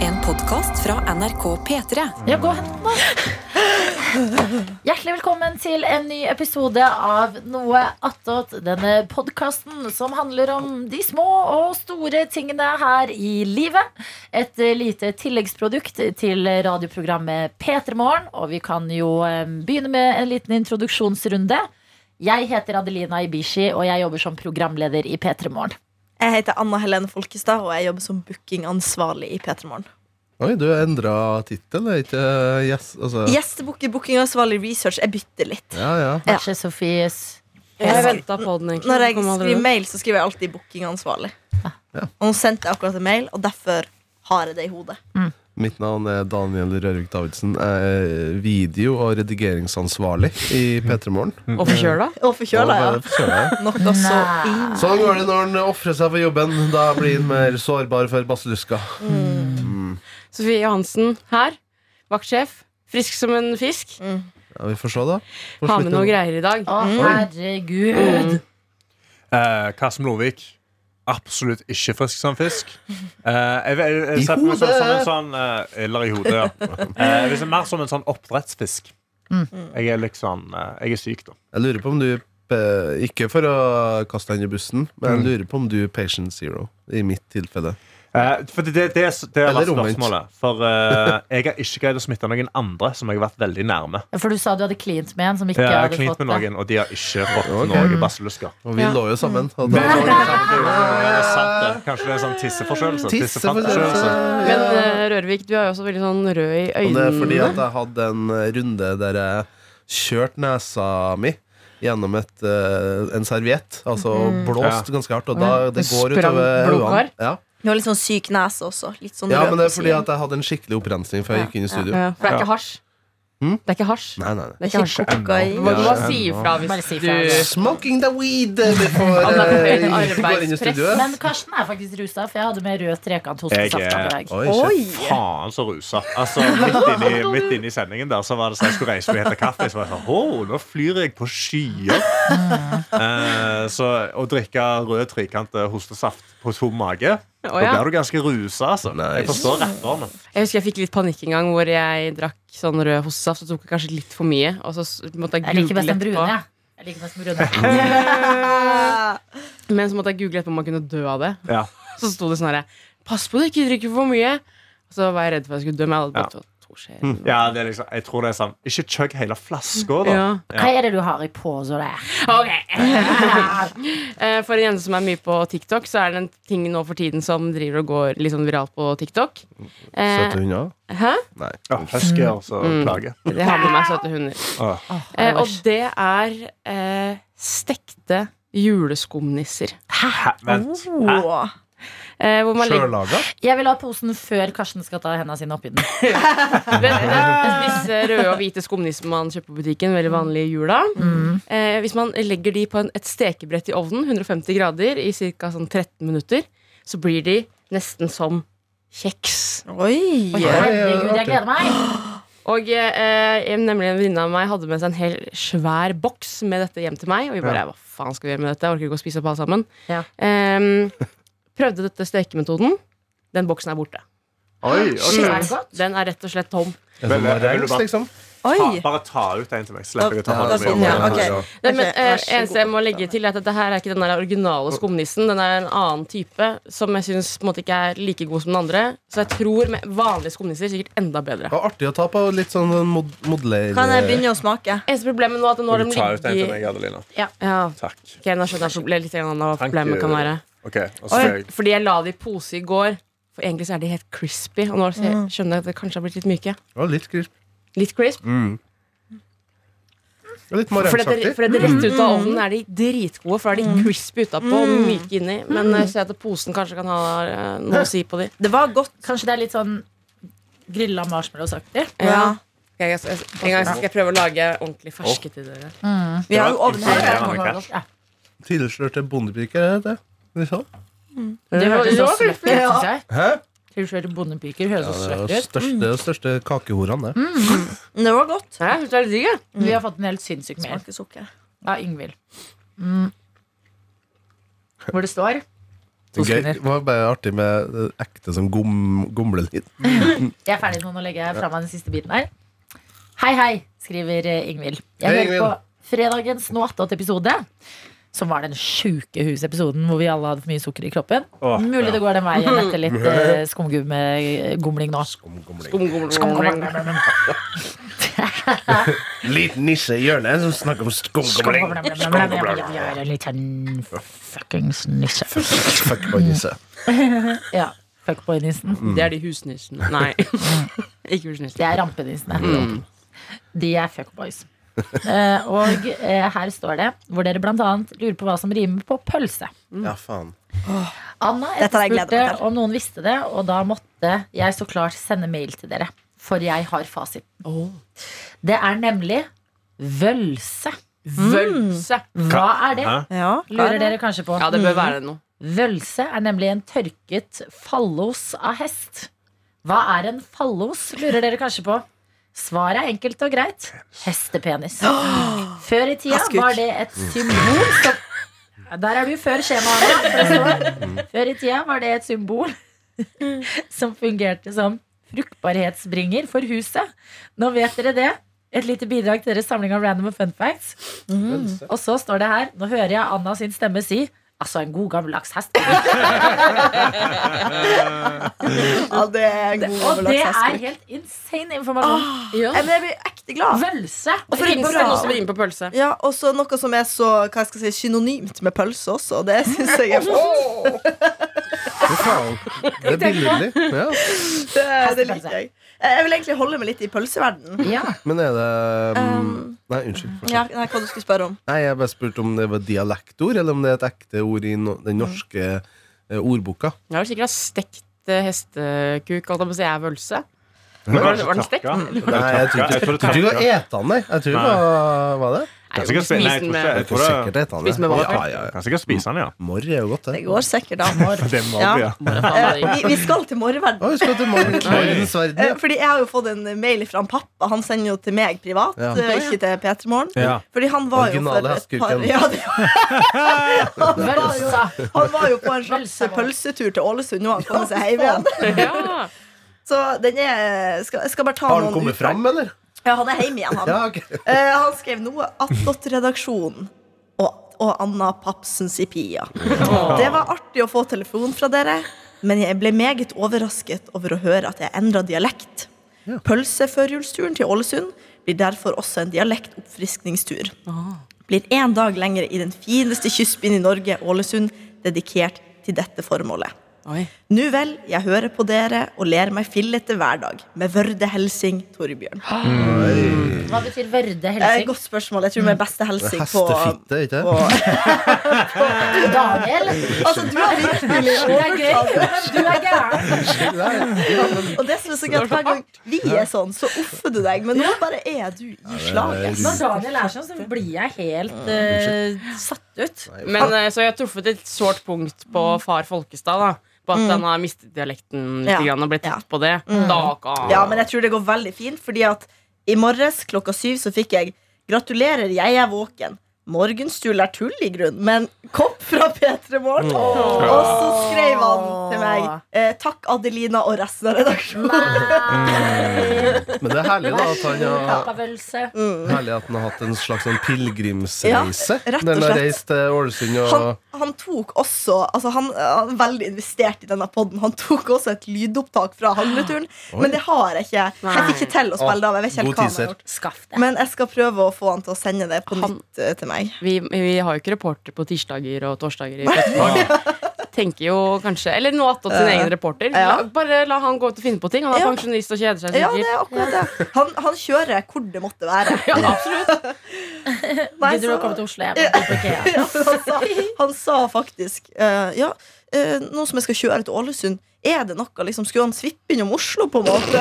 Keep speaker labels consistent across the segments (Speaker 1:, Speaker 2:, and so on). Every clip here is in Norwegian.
Speaker 1: En podkast fra NRK P3.
Speaker 2: Ja, gå og hent noe. Hjertelig velkommen til en ny episode av Noe attåt. Denne podkasten som handler om de små og store tingene her i livet. Et eh, lite tilleggsprodukt til radioprogrammet P3 Morgen. Og vi kan jo eh, begynne med en liten introduksjonsrunde. Jeg heter Adelina Ibishi, og jeg jobber som programleder i P3 Morgen.
Speaker 3: Jeg heter Anna Helene Folkestad, og jeg jobber som bookingansvarlig i P3 Morgen.
Speaker 4: Oi, du endra tittel, er ikke yes, altså.
Speaker 3: Gjestebooker, bookingansvarlig, research. Jeg bytter litt.
Speaker 4: Ja, ja.
Speaker 2: Vær så Sofies
Speaker 5: Jeg venta på den, egentlig.
Speaker 3: Når jeg
Speaker 5: Kom aldri
Speaker 3: skriver
Speaker 5: med.
Speaker 3: mail, så skriver jeg alltid bookingansvarlig. Og nå sendte jeg akkurat en mail, og derfor har jeg det i hodet.
Speaker 4: Mitt navn er Daniel Rørvik Davidsen. Jeg er video- og redigeringsansvarlig i P3 Morgen. eh,
Speaker 5: Og forkjøla?
Speaker 3: Og forkjøla, ja. Noe så
Speaker 2: Nei.
Speaker 3: inn.
Speaker 4: Sånn går det når en ofrer seg for jobben. Da blir en mer sårbar for Mm. baseluska.
Speaker 5: Mm. Sofie Johansen her. Vaktsjef. Frisk som en fisk.
Speaker 4: Ja, vi får se, da. Får
Speaker 5: Har med
Speaker 4: slutte-
Speaker 5: noe greier i dag.
Speaker 2: Å, herregud.
Speaker 6: Eh, Karsten Lovik Absolutt ikke frisk som fisk. Eh, jeg, jeg, jeg
Speaker 4: I
Speaker 6: ser på meg selv som
Speaker 4: hodet.
Speaker 6: en sånn eh, Eller i hodet, ja. Eh, hvis jeg er mer som en sånn oppdrettsfisk. Jeg er liksom eh, Jeg er syk, da.
Speaker 4: Jeg lurer på om du eh, Ikke for å kaste deg under bussen, men
Speaker 5: Mm.
Speaker 4: jeg lurer på om du er patient zero. I mitt tilfelle.
Speaker 6: Eh, for det, det, det, er- det har
Speaker 4: Eller
Speaker 6: vært
Speaker 4: omvendt.
Speaker 6: spørsmålet. For eh, jeg har ikke greid å smitte noen andre som jeg har vært veldig nærme.
Speaker 2: Ja, For du sa du hadde klint med en som ikke
Speaker 6: Jeg har
Speaker 2: hadde
Speaker 6: klint
Speaker 2: fått
Speaker 6: med
Speaker 2: det.
Speaker 6: noen, og de har ikke fått
Speaker 4: Ok.
Speaker 6: noe basillusker.
Speaker 4: Og vi
Speaker 5: Ja.
Speaker 4: lå jo sammen. Og
Speaker 6: Det er
Speaker 4: da,
Speaker 6: sant, det. Kanskje det er en sånn tisseforkjølelse? Tisseforkjølelse.
Speaker 4: Tisseforkjølelse.
Speaker 5: Men eh, Rørvik, du er jo også veldig sånn rød i
Speaker 4: Og det er fordi
Speaker 5: øynene.
Speaker 4: at jeg hadde en eh, runde der jeg kjørte nesa mi gjennom et, eh, en serviett. Altså
Speaker 5: Mm.
Speaker 4: blåst ganske hardt, og da det
Speaker 5: Det
Speaker 4: går
Speaker 5: sprang
Speaker 4: utover
Speaker 5: blodkar?
Speaker 4: øynene. Ja.
Speaker 3: Du har litt sånn syk nese også. Litt sånn
Speaker 4: ja,
Speaker 3: rød
Speaker 4: men
Speaker 3: på
Speaker 4: det er fordi
Speaker 3: siden.
Speaker 4: at jeg hadde en skikkelig opprensning før jeg gikk inn i studio.
Speaker 5: Ja, for det er ikke hasj.
Speaker 4: Mm?
Speaker 5: Det er ikke hasj.
Speaker 4: Nei, nei, nei.
Speaker 5: Det er ikke hasj. Du
Speaker 3: Kokain.
Speaker 5: må
Speaker 4: Ja,
Speaker 5: bare si ifra
Speaker 2: Bare
Speaker 5: hvis
Speaker 2: si
Speaker 5: du
Speaker 2: ifra.
Speaker 4: Smoking the weed before
Speaker 5: Anna,
Speaker 4: eh,
Speaker 5: for høyt
Speaker 4: vi går inn i
Speaker 5: arbeidspress.
Speaker 4: studioet.
Speaker 2: Men Karsten er faktisk rusa, for jeg hadde med rød trekant
Speaker 6: Jeg er-
Speaker 2: hostesaft i dag.
Speaker 4: Oi, shit.
Speaker 3: Oi!
Speaker 6: Faen så rusa. Altså, midt inni, midt inni sendingen der Så var det sånn jeg skulle reise meg og hente kaffe. Så var jeg sånn, «Hå, nå flyr jeg på skyer. Eh, så å drikke rød trikant eh, hostesaft på tom mage
Speaker 5: Å,
Speaker 6: Da
Speaker 5: ja.
Speaker 6: blir du ganske rusa, altså. Jeg forstår rapperne.
Speaker 5: Jeg husker jeg fikk litt panikk en gang hvor jeg drakk sånn rød hostesaft og tok kanskje litt for mye. Og så s- måtte jeg
Speaker 2: Jeg liker
Speaker 5: google
Speaker 2: best den brune,
Speaker 5: etterpå.
Speaker 2: jeg. Jeg liker best den brune.
Speaker 5: Men så måtte jeg google etterpå om man kunne dø av det.
Speaker 6: Ja.
Speaker 5: Så sto det sånn herre Pass på du ikke drikker for mye. Og så var jeg redd for at jeg skulle dø, men jeg hadde
Speaker 6: Ja.
Speaker 5: bare tatt to skjeer.
Speaker 6: ja, det er liksom Jeg tror det er sånn Ikke chugg hele flaska, da.
Speaker 5: Ja.
Speaker 2: Hva er det du har i pose der?
Speaker 5: Eh, For en jente som er mye på TikTok, så er det en ting nå for tiden som driver og går litt sånn viralt på TikTok. Eh,
Speaker 4: Søte hunder?
Speaker 5: hæ?
Speaker 4: Nei.
Speaker 6: Ja, Husky altså plager.
Speaker 5: Det har med meg søte hunder.
Speaker 6: Åh.
Speaker 4: Ah.
Speaker 5: Eh, og det er eh, stekte juleskumnisser.
Speaker 6: Hæ, Vent. Hæ?
Speaker 3: Åh.
Speaker 5: Eh, hvor man legger
Speaker 4: Sjøllaga?
Speaker 2: Jeg vil ha posen før Karsten skal ta hendene sine oppi den.
Speaker 5: Vent, vent. Disse røde og hvite skumnissene man kjøper på butikken, veldig vanlige i jula. Eh, hvis man legger de på en, et stekebrett i ovnen, 150 grader, i ca. Sånn 13 minutter, så blir de nesten som kjeks.
Speaker 3: Oi!
Speaker 2: Herregud, jeg gleder meg!
Speaker 5: Og eh, en- nemlig en venninne av meg hadde med seg en hel svær boks med dette hjem til meg. Og vi bare
Speaker 6: Ja.
Speaker 5: hva faen skal vi gjøre med dette? Jeg orker ikke å spise opp alle sammen.
Speaker 2: Ja.
Speaker 5: Ehm, prøvde dette stekemetoden. Den boksen er borte.
Speaker 4: Oi, oi.
Speaker 2: Shit, er det godt?
Speaker 5: Den er rett og slett tom.
Speaker 4: Er det noe
Speaker 6: Vel, vil du
Speaker 4: rangs,
Speaker 6: bare-
Speaker 4: liksom?
Speaker 6: Ta,
Speaker 3: Oi!
Speaker 6: bare ta ut en til meg. Slipper jeg å ta
Speaker 4: Ja,
Speaker 6: hånda
Speaker 3: sånn,
Speaker 6: mi. over
Speaker 3: ja,
Speaker 6: den.
Speaker 3: ok.
Speaker 5: Nei, men,
Speaker 3: Ok, vær
Speaker 5: eh,
Speaker 3: så
Speaker 5: eneste
Speaker 3: god.
Speaker 5: jeg må legge til, er at dette her er ikke den der originale skumnissen. Den er en annen type som jeg syns ikke er like god som den andre. Så jeg tror med vanlige skumnisser er sikkert enda bedre.
Speaker 4: Det var artig å ta på litt sånn mod modeller...
Speaker 3: Kan jeg begynne å smake?
Speaker 5: Eneste problemet nå er at nå har
Speaker 6: Vil
Speaker 5: de
Speaker 6: du ta ut en til
Speaker 5: ligget
Speaker 6: meg, Adelina?
Speaker 5: Ja,
Speaker 6: Takk.
Speaker 5: ok, nå skjønner jeg proble- litt grann hva
Speaker 6: Thank
Speaker 5: problemet
Speaker 6: you.
Speaker 5: kan være.
Speaker 6: Ok, og så skal jeg
Speaker 5: Fordi jeg la det i pose i går. For egentlig så er de helt crispy. Og nå ser- skjønner jeg at det kanskje har blitt litt myke.
Speaker 4: Det var litt crisp.
Speaker 5: Litt crisp.
Speaker 6: Mm.
Speaker 4: Det var Litt
Speaker 5: For det,
Speaker 4: morensaktig.
Speaker 5: for det rett ut av ovnen er de dritgode, for da er de crispy utapå og myke inni. Men eh, jeg ser at posen kanskje kan ha eh, noe å si på de.
Speaker 3: Det var godt.
Speaker 2: Kanskje det er litt sånn grilla marshmallowsaktig?
Speaker 3: Ja.
Speaker 5: Ok, jeg, jeg, en gang skal jeg prøve å lage ordentlig ferske til dere.
Speaker 3: Vi har jo
Speaker 6: var
Speaker 3: ovn her.
Speaker 6: imponerende. Ok.
Speaker 2: Ja.
Speaker 4: Tilslørte bondepiker, er det det? det? er sånn.
Speaker 2: Det høres
Speaker 5: det var
Speaker 2: også litt ut,
Speaker 3: Ja.
Speaker 2: syns jeg.
Speaker 4: Hæ?
Speaker 2: Tilslørte bondepiker høres også
Speaker 4: Det er
Speaker 2: søtt
Speaker 4: jo
Speaker 2: ut.
Speaker 4: største, det er jo største kakehorene, det.
Speaker 3: Det var godt.
Speaker 5: Nei, jeg synes det er litt digg, jeg.
Speaker 2: Mm. Vi har fått en helt sinnssyk mail
Speaker 3: Smaker sukker.
Speaker 2: av Yngvild. Mm. Hvor det står
Speaker 4: Det, er gøy.
Speaker 2: sekunder.
Speaker 4: det var bare artig med det ekte som gom, gomlelyd.
Speaker 2: Jeg er ferdig nå, nå legger jeg fra meg den siste biten her. Hei, hei, skriver eh, Ingvild. Jeg
Speaker 4: Hei,
Speaker 2: hører på
Speaker 4: Ingvild.
Speaker 2: fredagens Nå attåt-episode, som var den sjukehusepisoden hvor vi alle hadde for mye sukker i kroppen.
Speaker 6: Åh,
Speaker 2: Mulig
Speaker 6: ja.
Speaker 2: det går den veien etter litt eh, skumgummegomling nå.
Speaker 5: Skum, gom, gom, gom.
Speaker 4: Liten nisse i hjørnet som snakker om skumgomling.
Speaker 2: Jeg er en liten fuckings nisse.
Speaker 4: Fuck på nisse.
Speaker 2: Ja, fuckboy-nissen.
Speaker 4: Mm.
Speaker 6: Mm.
Speaker 5: Det er de husnissene. Nei. Ikke
Speaker 2: Det
Speaker 5: husnissene.
Speaker 2: er rampenissene.
Speaker 4: Mm.
Speaker 2: De er fuckboys. Eh, og eh, her står det, hvor dere blant annet lurer på hva som rimer på pølse.
Speaker 4: Ja, faen.
Speaker 2: Anna
Speaker 3: Dette har jeg gledet
Speaker 2: etterspurte
Speaker 3: meg til.
Speaker 2: om noen visste det, og da måtte jeg så klart sende mail til dere. For jeg har fasiten. Det er nemlig vølse.
Speaker 5: Vølse.
Speaker 2: Hva er det?
Speaker 6: Hæ?
Speaker 3: Ja,
Speaker 2: Lurer dere kanskje på.
Speaker 5: Ja, det bør være noe.
Speaker 2: Vølse er nemlig en tørket fallos av hest. Hva er en fallos, lurer dere kanskje på. Svaret er enkelt og greit. Hestepenis. Før i tida
Speaker 3: Askut.
Speaker 2: var det et symbol som Ja, Der er du før skjemaet. Anna, for det står. Før i tida var det et symbol som fungerte som fruktbarhetsbringer for huset. Nå vet dere det. Et lite bidrag til deres samling av random og fun facts. Og så står det her, nå hører jeg Anna sin stemme si Altså en god gammeldags hest
Speaker 3: Ja, det er
Speaker 2: Og det
Speaker 3: god overlagt
Speaker 2: er
Speaker 3: hest.
Speaker 2: helt insane informasjon
Speaker 5: Ja.
Speaker 3: Eh, men Jeg blir ekte glad.
Speaker 2: Vølse
Speaker 3: Og for
Speaker 5: Det
Speaker 3: en
Speaker 5: finnes
Speaker 3: bra-
Speaker 5: vel noe som rimer på pølse.
Speaker 3: Ja, og så noe som er så hva skal jeg si, synonymt med pølse også. og Det synes jeg er
Speaker 4: Fy faen. Det er billedlig. Ja.
Speaker 3: det, det liker jeg. Eh, Jeg vil egentlig holde meg litt i pølseverdenen.
Speaker 2: ja.
Speaker 4: Men er det um,
Speaker 3: Um,
Speaker 4: Nei, unnskyld. fortsett.
Speaker 3: Ja, nei, hva du skulle spørre om.
Speaker 4: Nei, Jeg bare spurte om det var dialektord, eller om det er et ekte ord i no den norske eh, ordboka.
Speaker 5: Det var sikkert stekt eh, hestekuk. Alt jeg på å si er vølse. Var
Speaker 6: Men var
Speaker 5: det-
Speaker 6: det
Speaker 5: var den
Speaker 6: tørka?
Speaker 5: stekt?
Speaker 6: Var det
Speaker 4: Nei, jeg tror
Speaker 6: tørka? Jeg
Speaker 4: ikke
Speaker 6: tror
Speaker 4: jeg tror ikke det
Speaker 6: det
Speaker 4: var
Speaker 6: tørka.
Speaker 4: etan, nei. Jeg tror det var Var det?
Speaker 6: Kan sikkert spise- nei, jeg tror ikke-
Speaker 5: med-
Speaker 6: jeg tror det-
Speaker 4: Sikkert etan.
Speaker 5: Spis med
Speaker 4: ja.
Speaker 5: vaffel.
Speaker 4: Ja, ja, ja.
Speaker 6: Kan sikkert spise den, ja.
Speaker 4: Morr er jo godt,
Speaker 3: Det
Speaker 4: det.
Speaker 3: går sikkert, da.
Speaker 6: Det må
Speaker 3: Ja.
Speaker 6: vi, ja.
Speaker 3: Eh, Vi, vi skal til
Speaker 4: Å,
Speaker 3: morgenverden.
Speaker 4: vi skal til morgen. Morgens
Speaker 3: Eh,
Speaker 4: verden.
Speaker 3: Fordi jeg har jo fått en mail fra en pappa. Han sender jo til meg privat,
Speaker 4: Ja.
Speaker 3: eh, ikke til P3 Morgen.
Speaker 6: Ja.
Speaker 3: Fordi han var jo
Speaker 4: Originale
Speaker 3: for et par
Speaker 4: hestekuken.
Speaker 3: ja, det, han, var jo,
Speaker 2: Vølse
Speaker 3: han var jo på en slags pølsetur til Ålesund. Nå har han kommet seg hjem igjen.
Speaker 5: Ja.
Speaker 3: Så den er skal, Jeg skal bare ta
Speaker 4: Har han
Speaker 3: noen
Speaker 4: kommet
Speaker 3: utdrag.
Speaker 4: fram, eller?
Speaker 3: Ja, han er hjemme igjen, han.
Speaker 4: Ja, ok.
Speaker 3: Eh, han skrev noe attåt redaksjonen og, og Anna Papsens i Pia. Det var artig å få telefon fra dere, men jeg ble meget overrasket over å høre at jeg endra dialekt. Pølseførjulsturen til Ålesund blir derfor også en dialektoppfriskningstur. Blir én dag lenger i den fineste kystbyen i Norge, Ålesund, dedikert til dette formålet.
Speaker 5: Oi.
Speaker 3: Nu vel, jeg hører på dere og ler meg fillete hver dag. Med vørde helsing Torbjørn.
Speaker 2: Hva betyr vørde
Speaker 3: Eh,
Speaker 2: helsing?
Speaker 3: godt spørsmål. Jeg tror med beste helsing på,
Speaker 4: Mm. Hestefitte, ikke
Speaker 3: på
Speaker 2: Daniel
Speaker 3: Altså, du har virkelig
Speaker 2: Det er gøy men Du er gæren
Speaker 3: Og det som er så gøy, at hver gang vi er sånn, så offer du deg. Men nå bare er du i slaget.
Speaker 2: Når Daniel er sånn så blir jeg helt eh, satt ut
Speaker 5: Men eh, så jeg har truffet et sårt punkt på
Speaker 3: Mm.
Speaker 5: far Folkestad. da På at han har mistet dialekten litt
Speaker 3: Ja.
Speaker 5: grann, og blitt
Speaker 3: Ja. Mm.
Speaker 5: tett på det. Da kan-
Speaker 3: Ja, men jeg tror det går veldig fint, fordi at i morges klokka syv så fikk jeg Gratulerer, jeg er våken. Morgenstul er tull i grunn, men kopp fra P3 Morgen. Og så skrev han til meg eh, takk Adelina og resten av redaksjonen.
Speaker 4: Men det er herlig da at han har
Speaker 2: Pappavølse
Speaker 4: Herlig at han har hatt en slags sånn pilegrimsreise.
Speaker 3: Ja, rett og
Speaker 4: Når han har
Speaker 3: slett.
Speaker 4: reist til Ålesund og
Speaker 3: Han, han tok også altså han, han er veldig investert i denne podden. Han tok også et lydopptak fra handleturen, men det har jeg ikke. Jeg fikk ikke til å spille det av. Jeg vet ikke
Speaker 4: God
Speaker 3: helt hva han
Speaker 4: teaser.
Speaker 3: har gjort.
Speaker 2: Skaff deg
Speaker 3: Men jeg skal prøve å få han til å sende det på nytt eh, til meg.
Speaker 5: Vi, vi har jo ikke reporter på tirsdager og torsdager. i Petermorgen. Tenker jo kanskje Eller nå attåt sin egen reporter.
Speaker 3: Eh, Ja.
Speaker 5: La, bare la han gå ut og finne på ting. Han er
Speaker 3: Ja.
Speaker 5: pensjonist og kjeder seg
Speaker 3: Ja, det
Speaker 5: sikkert.
Speaker 3: er akkurat det. Han, han kjører hvor det måtte være.
Speaker 5: Ja, absolutt.
Speaker 2: Gidder du
Speaker 3: Nei,
Speaker 2: å
Speaker 3: så-
Speaker 2: komme til Oslo? Jeg må på IKEA.
Speaker 3: ja, men han, sa, han sa faktisk eh, Ja, eh, nå som jeg skal kjøre til Ålesund, er det noe liksom, Skulle han svippe innom Oslo, på en måte?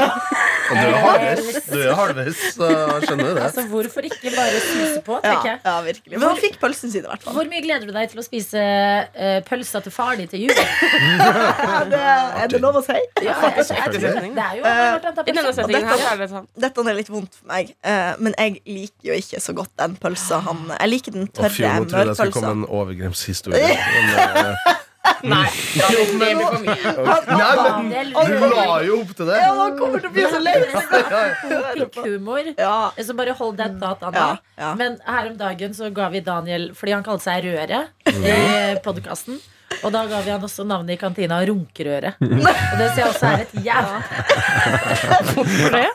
Speaker 4: Og du er halvveis, du er halvveis, så jeg skjønner jo det.
Speaker 2: Altså hvorfor ikke bare snuse på,
Speaker 3: Ja,
Speaker 2: tenker jeg
Speaker 3: ja virkelig. Men han fikk pølsen sin, i hvert fall.
Speaker 2: Hvor mye gleder du deg til å spise uh, pølsa til far din til jul?
Speaker 3: Er det, er det lov å si?
Speaker 2: Ja, jeg, jeg, jeg,
Speaker 5: Selvfølgelig.
Speaker 2: det er jo rart at han tar
Speaker 5: I denne
Speaker 2: pølsa.
Speaker 5: settingen her så er det sånn.
Speaker 3: Dette er litt vondt for meg, eh, men jeg liker jo ikke så godt den pølsa han Jeg liker den
Speaker 4: Og fy,
Speaker 3: tørre altså.
Speaker 4: nå trodde jeg det skulle komme
Speaker 3: mørpølsa.
Speaker 4: en overgrepshistorie. Men, eh,
Speaker 5: Nei, da blir det blir for
Speaker 4: Nei,
Speaker 5: mye.
Speaker 4: men
Speaker 2: Det er
Speaker 4: du la jo opp til det.
Speaker 3: Ja, nå kommer det til å bli så lei
Speaker 2: pikkhumor.
Speaker 3: Ja.
Speaker 2: Så bare hold den thought, Anna.
Speaker 3: Mm. Ja, ja.
Speaker 2: Men her om dagen så ga vi Daniel Fordi han kalte seg Røret
Speaker 4: Mm.
Speaker 2: i podkasten. Og da ga vi han også navnet i kantina Runkerøret. Og det ser jeg også er et jævla Hvorfor det?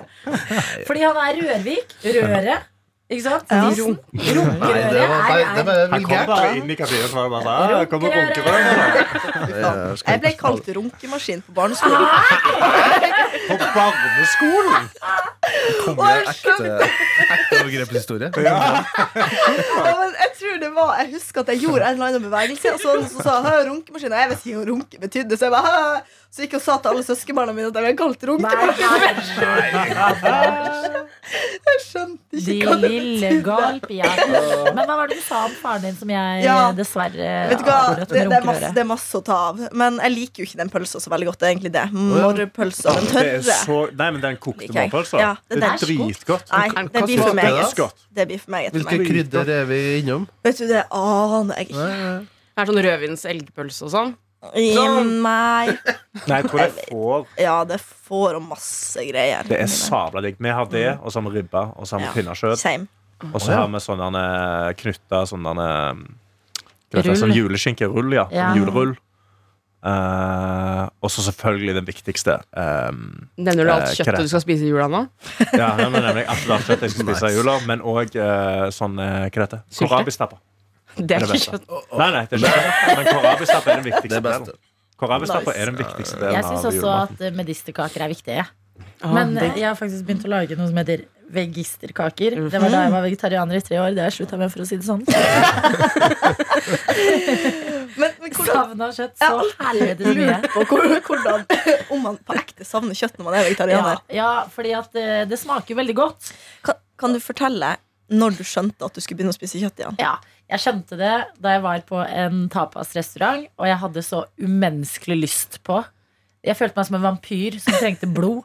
Speaker 2: Fordi han er Rørvik. Røret. Ikke sant?
Speaker 3: Ja.
Speaker 2: Nissen.
Speaker 4: Nei, det var, nei, det
Speaker 2: Runkerøret er, er
Speaker 4: var
Speaker 6: Han kom
Speaker 4: vulgært.
Speaker 6: bare inn i kantina og så var det bare sånn «Ah, Kommer runkerøret?
Speaker 4: Ja, skal
Speaker 3: Jeg ble
Speaker 4: ikke-
Speaker 3: kalt runkemaskin på barneskolen.
Speaker 6: På barneskolen?
Speaker 4: Kom med ekte, ekte overgrepshistorie.
Speaker 3: Ja, men jeg tror det var Jeg husker at jeg gjorde en eller annen bevegelse, og så, så sa jeg runkemaskin. Og jeg vet ikke hva runke betydde, så jeg bare «Hæ?» Så gikk jeg og sa til alle søskenbarna mine at jeg ble kalt runkemaskin. Jeg skjønte
Speaker 2: De
Speaker 3: ikke hva det
Speaker 2: lille galp jeg Men hva var det du sa om faren din som jeg
Speaker 3: Ja.
Speaker 2: dessverre
Speaker 3: Vet du hva,
Speaker 2: avbrøt
Speaker 3: det,
Speaker 2: med
Speaker 3: det, er masse,
Speaker 2: runkerøret?
Speaker 3: det er masse å ta av. Men jeg liker jo ikke den pølsa så veldig godt. Det er egentlig det. Morrpølsa. Den
Speaker 6: Det er
Speaker 3: tørre.
Speaker 6: så, nei, men den kokte
Speaker 3: Liker jeg.
Speaker 6: morpølsa.
Speaker 3: Ja, det
Speaker 6: det er
Speaker 3: der.
Speaker 6: dritgodt.
Speaker 3: Nei, det blir for meg. ass.
Speaker 6: Godt.
Speaker 3: Det blir for meg etter
Speaker 4: Hvilke
Speaker 3: meg.
Speaker 4: krydder er vi innom?
Speaker 3: Vet du, det aner jeg ikke.
Speaker 5: Det er sånn rødvins-elgpølse og sånn.
Speaker 3: I meg
Speaker 6: Nei, jeg tror det er får.
Speaker 3: Ja, det får og masse greier.
Speaker 6: Det er sabla digg. Vi har det, og så har vi ribba, og så har
Speaker 3: Mm.
Speaker 6: vi
Speaker 3: Ja.
Speaker 6: pinnekjøtt.
Speaker 3: Same.
Speaker 6: Og så har vi sånn eh, sånne knutta sånne um, hva heter det,
Speaker 2: Rull.
Speaker 6: Sånn juleskinkerull, ja.
Speaker 2: Ja.
Speaker 6: Sånn julerull. Eh, og så selvfølgelig den viktigste. Um,
Speaker 5: Nevner du alt
Speaker 6: Eh,
Speaker 5: kjøttet
Speaker 6: krem.
Speaker 5: du skal spise i jula nå?
Speaker 6: ja, den er nemlig absolutt alt kjøtt jeg skal spise i jula, men òg sånn eh, Hva heter det?
Speaker 5: Sylte?
Speaker 6: Korabistappa.
Speaker 5: Det er
Speaker 6: Det
Speaker 5: ikke
Speaker 6: beste.
Speaker 5: kjøtt.
Speaker 6: Nei, nei, det er ikke det. Men korabistappa er den viktigste
Speaker 4: Det beste.
Speaker 6: delen. Korabistappa
Speaker 3: Nice.
Speaker 6: er den viktigste
Speaker 2: Jeg
Speaker 6: delen
Speaker 2: syns
Speaker 6: av
Speaker 2: også
Speaker 6: julematen.
Speaker 2: at eh, medisterkaker er viktige.
Speaker 5: Ah,
Speaker 2: Men
Speaker 5: det-
Speaker 2: eh, jeg har faktisk begynt å lage noe som heter vegisterkaker. Det var da jeg var vegetarianer i tre år. Det har jeg slutta med, for å si det sånn.
Speaker 3: Men, men hvordan,
Speaker 2: Savna kjøtt så
Speaker 3: jeg har
Speaker 2: helvetes mye.
Speaker 3: alltid lurt på hvor- hvordan Om man på ekte savner kjøtt når man er
Speaker 2: Ja,
Speaker 3: vegetarianer.
Speaker 2: ja, fordi at eh, det smaker jo veldig godt.
Speaker 3: Kan, kan du fortelle når du skjønte at du skulle begynne å spise kjøtt igjen?
Speaker 2: Ja, jeg skjønte det da jeg var på en tapasrestaurant, og jeg hadde så umenneskelig lyst på Jeg følte meg som en vampyr som trengte blod.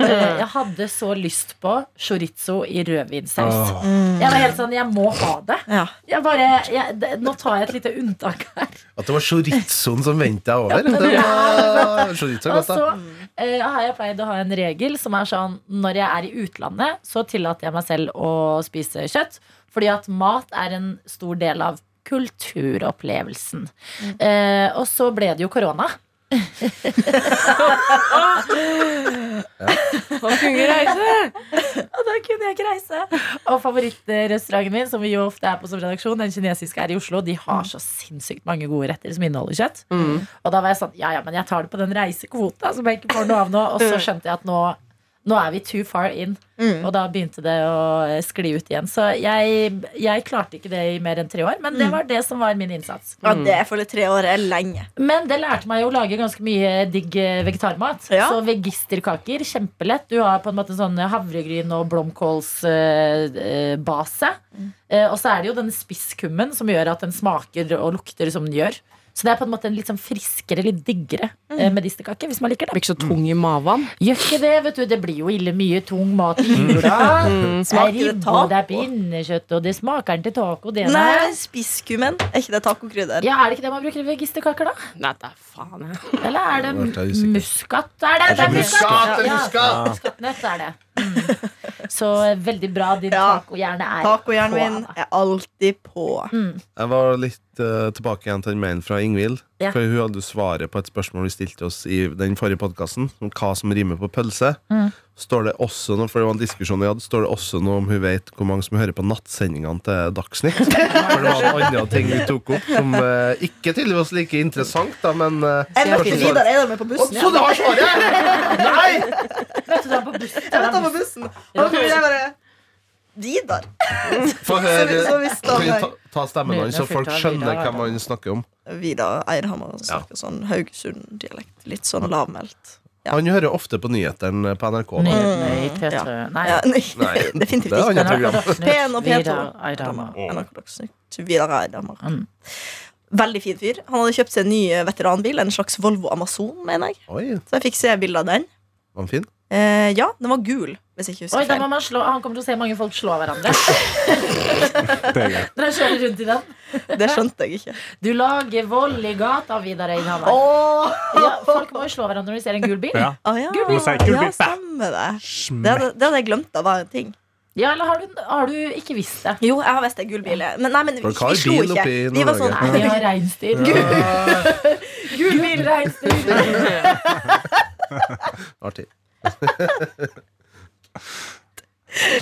Speaker 2: Eh, Jeg hadde så lyst på chorizo i rødvinsaus. Jeg var helt sånn Jeg må ha det.
Speaker 3: Ja.
Speaker 2: Jeg bare, jeg, det. Nå tar jeg et lite unntak her.
Speaker 4: At det var chorizoen som vendte deg over. Det var chorizo er
Speaker 2: Og
Speaker 4: godt,
Speaker 2: så
Speaker 4: da.
Speaker 2: eh, har jeg pleid å ha en regel som er sånn Når jeg er i utlandet, så tillater jeg meg selv å spise kjøtt. Fordi at mat er en stor del av kulturopplevelsen. Eh, og så ble det jo korona.
Speaker 5: Å kunne reise!
Speaker 2: Og da kunne jeg ikke reise. Og favorittrestauranten min, som vi jo ofte er på som redaksjon, den kinesiske er i Oslo. De har så sinnssykt mange gode retter som inneholder kjøtt.
Speaker 5: Mm.
Speaker 2: Og da var jeg sånn, ja ja, men jeg tar det på den reisekvota som jeg ikke får noe av nå. Og så skjønte jeg at nå, nå er vi too far in. Og da begynte det å eh, skli ut igjen. Så jeg, jeg klarte ikke det i mer enn tre år, men det var det som var min innsats.
Speaker 3: Ja, det er for de tre år er lenge.
Speaker 2: Men det lærte meg jo å lage ganske mye digg eh, vegetarmat.
Speaker 3: Ja.
Speaker 2: Så vegisterkaker, kjempelett. Du har på en måte sånn havregryn og blomkålsbase.
Speaker 3: Mm.
Speaker 2: Eh, og så er det jo den spisskummen som gjør at den smaker og lukter som den gjør. Så det er på en måte en litt sånn friskere, litt diggere
Speaker 3: Mm.
Speaker 2: eh, medisterkake, hvis man liker
Speaker 5: Blir
Speaker 2: det.
Speaker 5: ikke så tung i maven.
Speaker 2: Gjør ikke det, vet du. Det blir jo ille mye tung mat i jula.
Speaker 5: Mm.
Speaker 2: det
Speaker 3: Smaker
Speaker 2: er
Speaker 3: det
Speaker 2: ribbe,
Speaker 3: taco?
Speaker 2: og det er pinnekjøtt, og det smaker den til taco, det der.
Speaker 3: Nei, spisskummen. Er ikke det tacokrydder?
Speaker 2: Ja, er det ikke det man bruker i vegisterkaker, da?
Speaker 5: Nei, det er faen, jeg.
Speaker 2: Eller er
Speaker 4: Nå ble
Speaker 2: det
Speaker 4: jeg usikker.
Speaker 2: muskat? Er det, det er
Speaker 4: Altså, Muskat, det er
Speaker 2: Ja,
Speaker 4: muskat!
Speaker 2: muskatnøtt er det. Mm. Så veldig bra din
Speaker 3: Ja.
Speaker 2: tacohjerne er
Speaker 3: Tacohjernen
Speaker 2: på,
Speaker 3: min
Speaker 2: Anna.
Speaker 3: er alltid på.
Speaker 4: Jeg var litt eh, tilbake igjen til den mailen fra Ingvild.
Speaker 2: Ja.
Speaker 4: For hun hadde jo svaret på et spørsmål vi stilte oss i den forrige podkasten, om hva som rimer på pølse. Står det også noe, for det var en diskusjon vi hadde, står det også noe om hun vet hvor mange som hører på nattsendingene til Dagsnytt? For det var en annen ting vi tok opp som eh, ikke tydeligvis like interessant, da, men eh,
Speaker 3: Jeg møtte
Speaker 4: kanskje svaret-
Speaker 3: Vidar Eidar med på
Speaker 4: Å,
Speaker 3: bussen.
Speaker 4: så du har svaret! Nei!
Speaker 2: Møtte du ham på bussen?
Speaker 3: Jeg møtte han på bussen. Og da kom jeg bare Vidar. Så
Speaker 4: Få
Speaker 3: vi- så
Speaker 4: høre.
Speaker 3: vi står
Speaker 4: Kan vi
Speaker 3: der.
Speaker 4: ta, ta stemmen hans, så folk skjønner hvem han snakker om?
Speaker 3: Vidar Eidhammer snakker sånn Haugesund-dialekt. Litt sånn lavmælt. Ja.
Speaker 4: Han hører ofte på nyhetene på NRK. Da.
Speaker 2: Nyhetene i P2. Nei,
Speaker 3: Mm. Ja, nei,
Speaker 4: Nei,
Speaker 3: definitivt
Speaker 4: det er
Speaker 3: ikke.
Speaker 4: annet
Speaker 2: NRK
Speaker 4: program.
Speaker 2: Dagsnytt,
Speaker 3: P1 og P2.
Speaker 2: Vidar Eidhammer.
Speaker 3: NRK Dagsnytt. Vidar Eidhammer. Veldig fin fyr. Han hadde kjøpt seg en ny eh, veteranbil, en slags Volvo Amazon, mener jeg.
Speaker 4: Oi,
Speaker 3: Så jeg fikk se bilde av den.
Speaker 4: var han fin?
Speaker 3: Eh, ja, den var gul. Hvis jeg ikke
Speaker 2: Oi, da
Speaker 3: husker feil.
Speaker 2: må man slå, Han kommer til å se mange folk slå hverandre.
Speaker 6: Det er greit.
Speaker 2: Dere kjører rundt i den.
Speaker 3: Det skjønte jeg ikke.
Speaker 2: Du lager vold i gata, Vidar Øyhammer. Ja, folk må jo slå hverandre når de ser en gul bil.
Speaker 6: Ja.
Speaker 3: Å Ah, ja.
Speaker 6: Du må si gul
Speaker 3: ja,
Speaker 6: bil.
Speaker 3: stemmer det. Det
Speaker 6: Smekk.
Speaker 3: hadde, det hadde jeg glemt av en ting.
Speaker 2: Ja, eller har du, har du ikke visst det?
Speaker 3: Jo, jeg har visst det er gul bil. Men, nei, men vi,
Speaker 4: Folk har
Speaker 3: vi slo
Speaker 4: bil
Speaker 3: ikke.
Speaker 4: oppi
Speaker 3: Vi var
Speaker 4: Nord-Norge.
Speaker 3: sånn
Speaker 2: Nei, vi har reinsdyr. Gul bil, reinsdyr.
Speaker 4: Artig.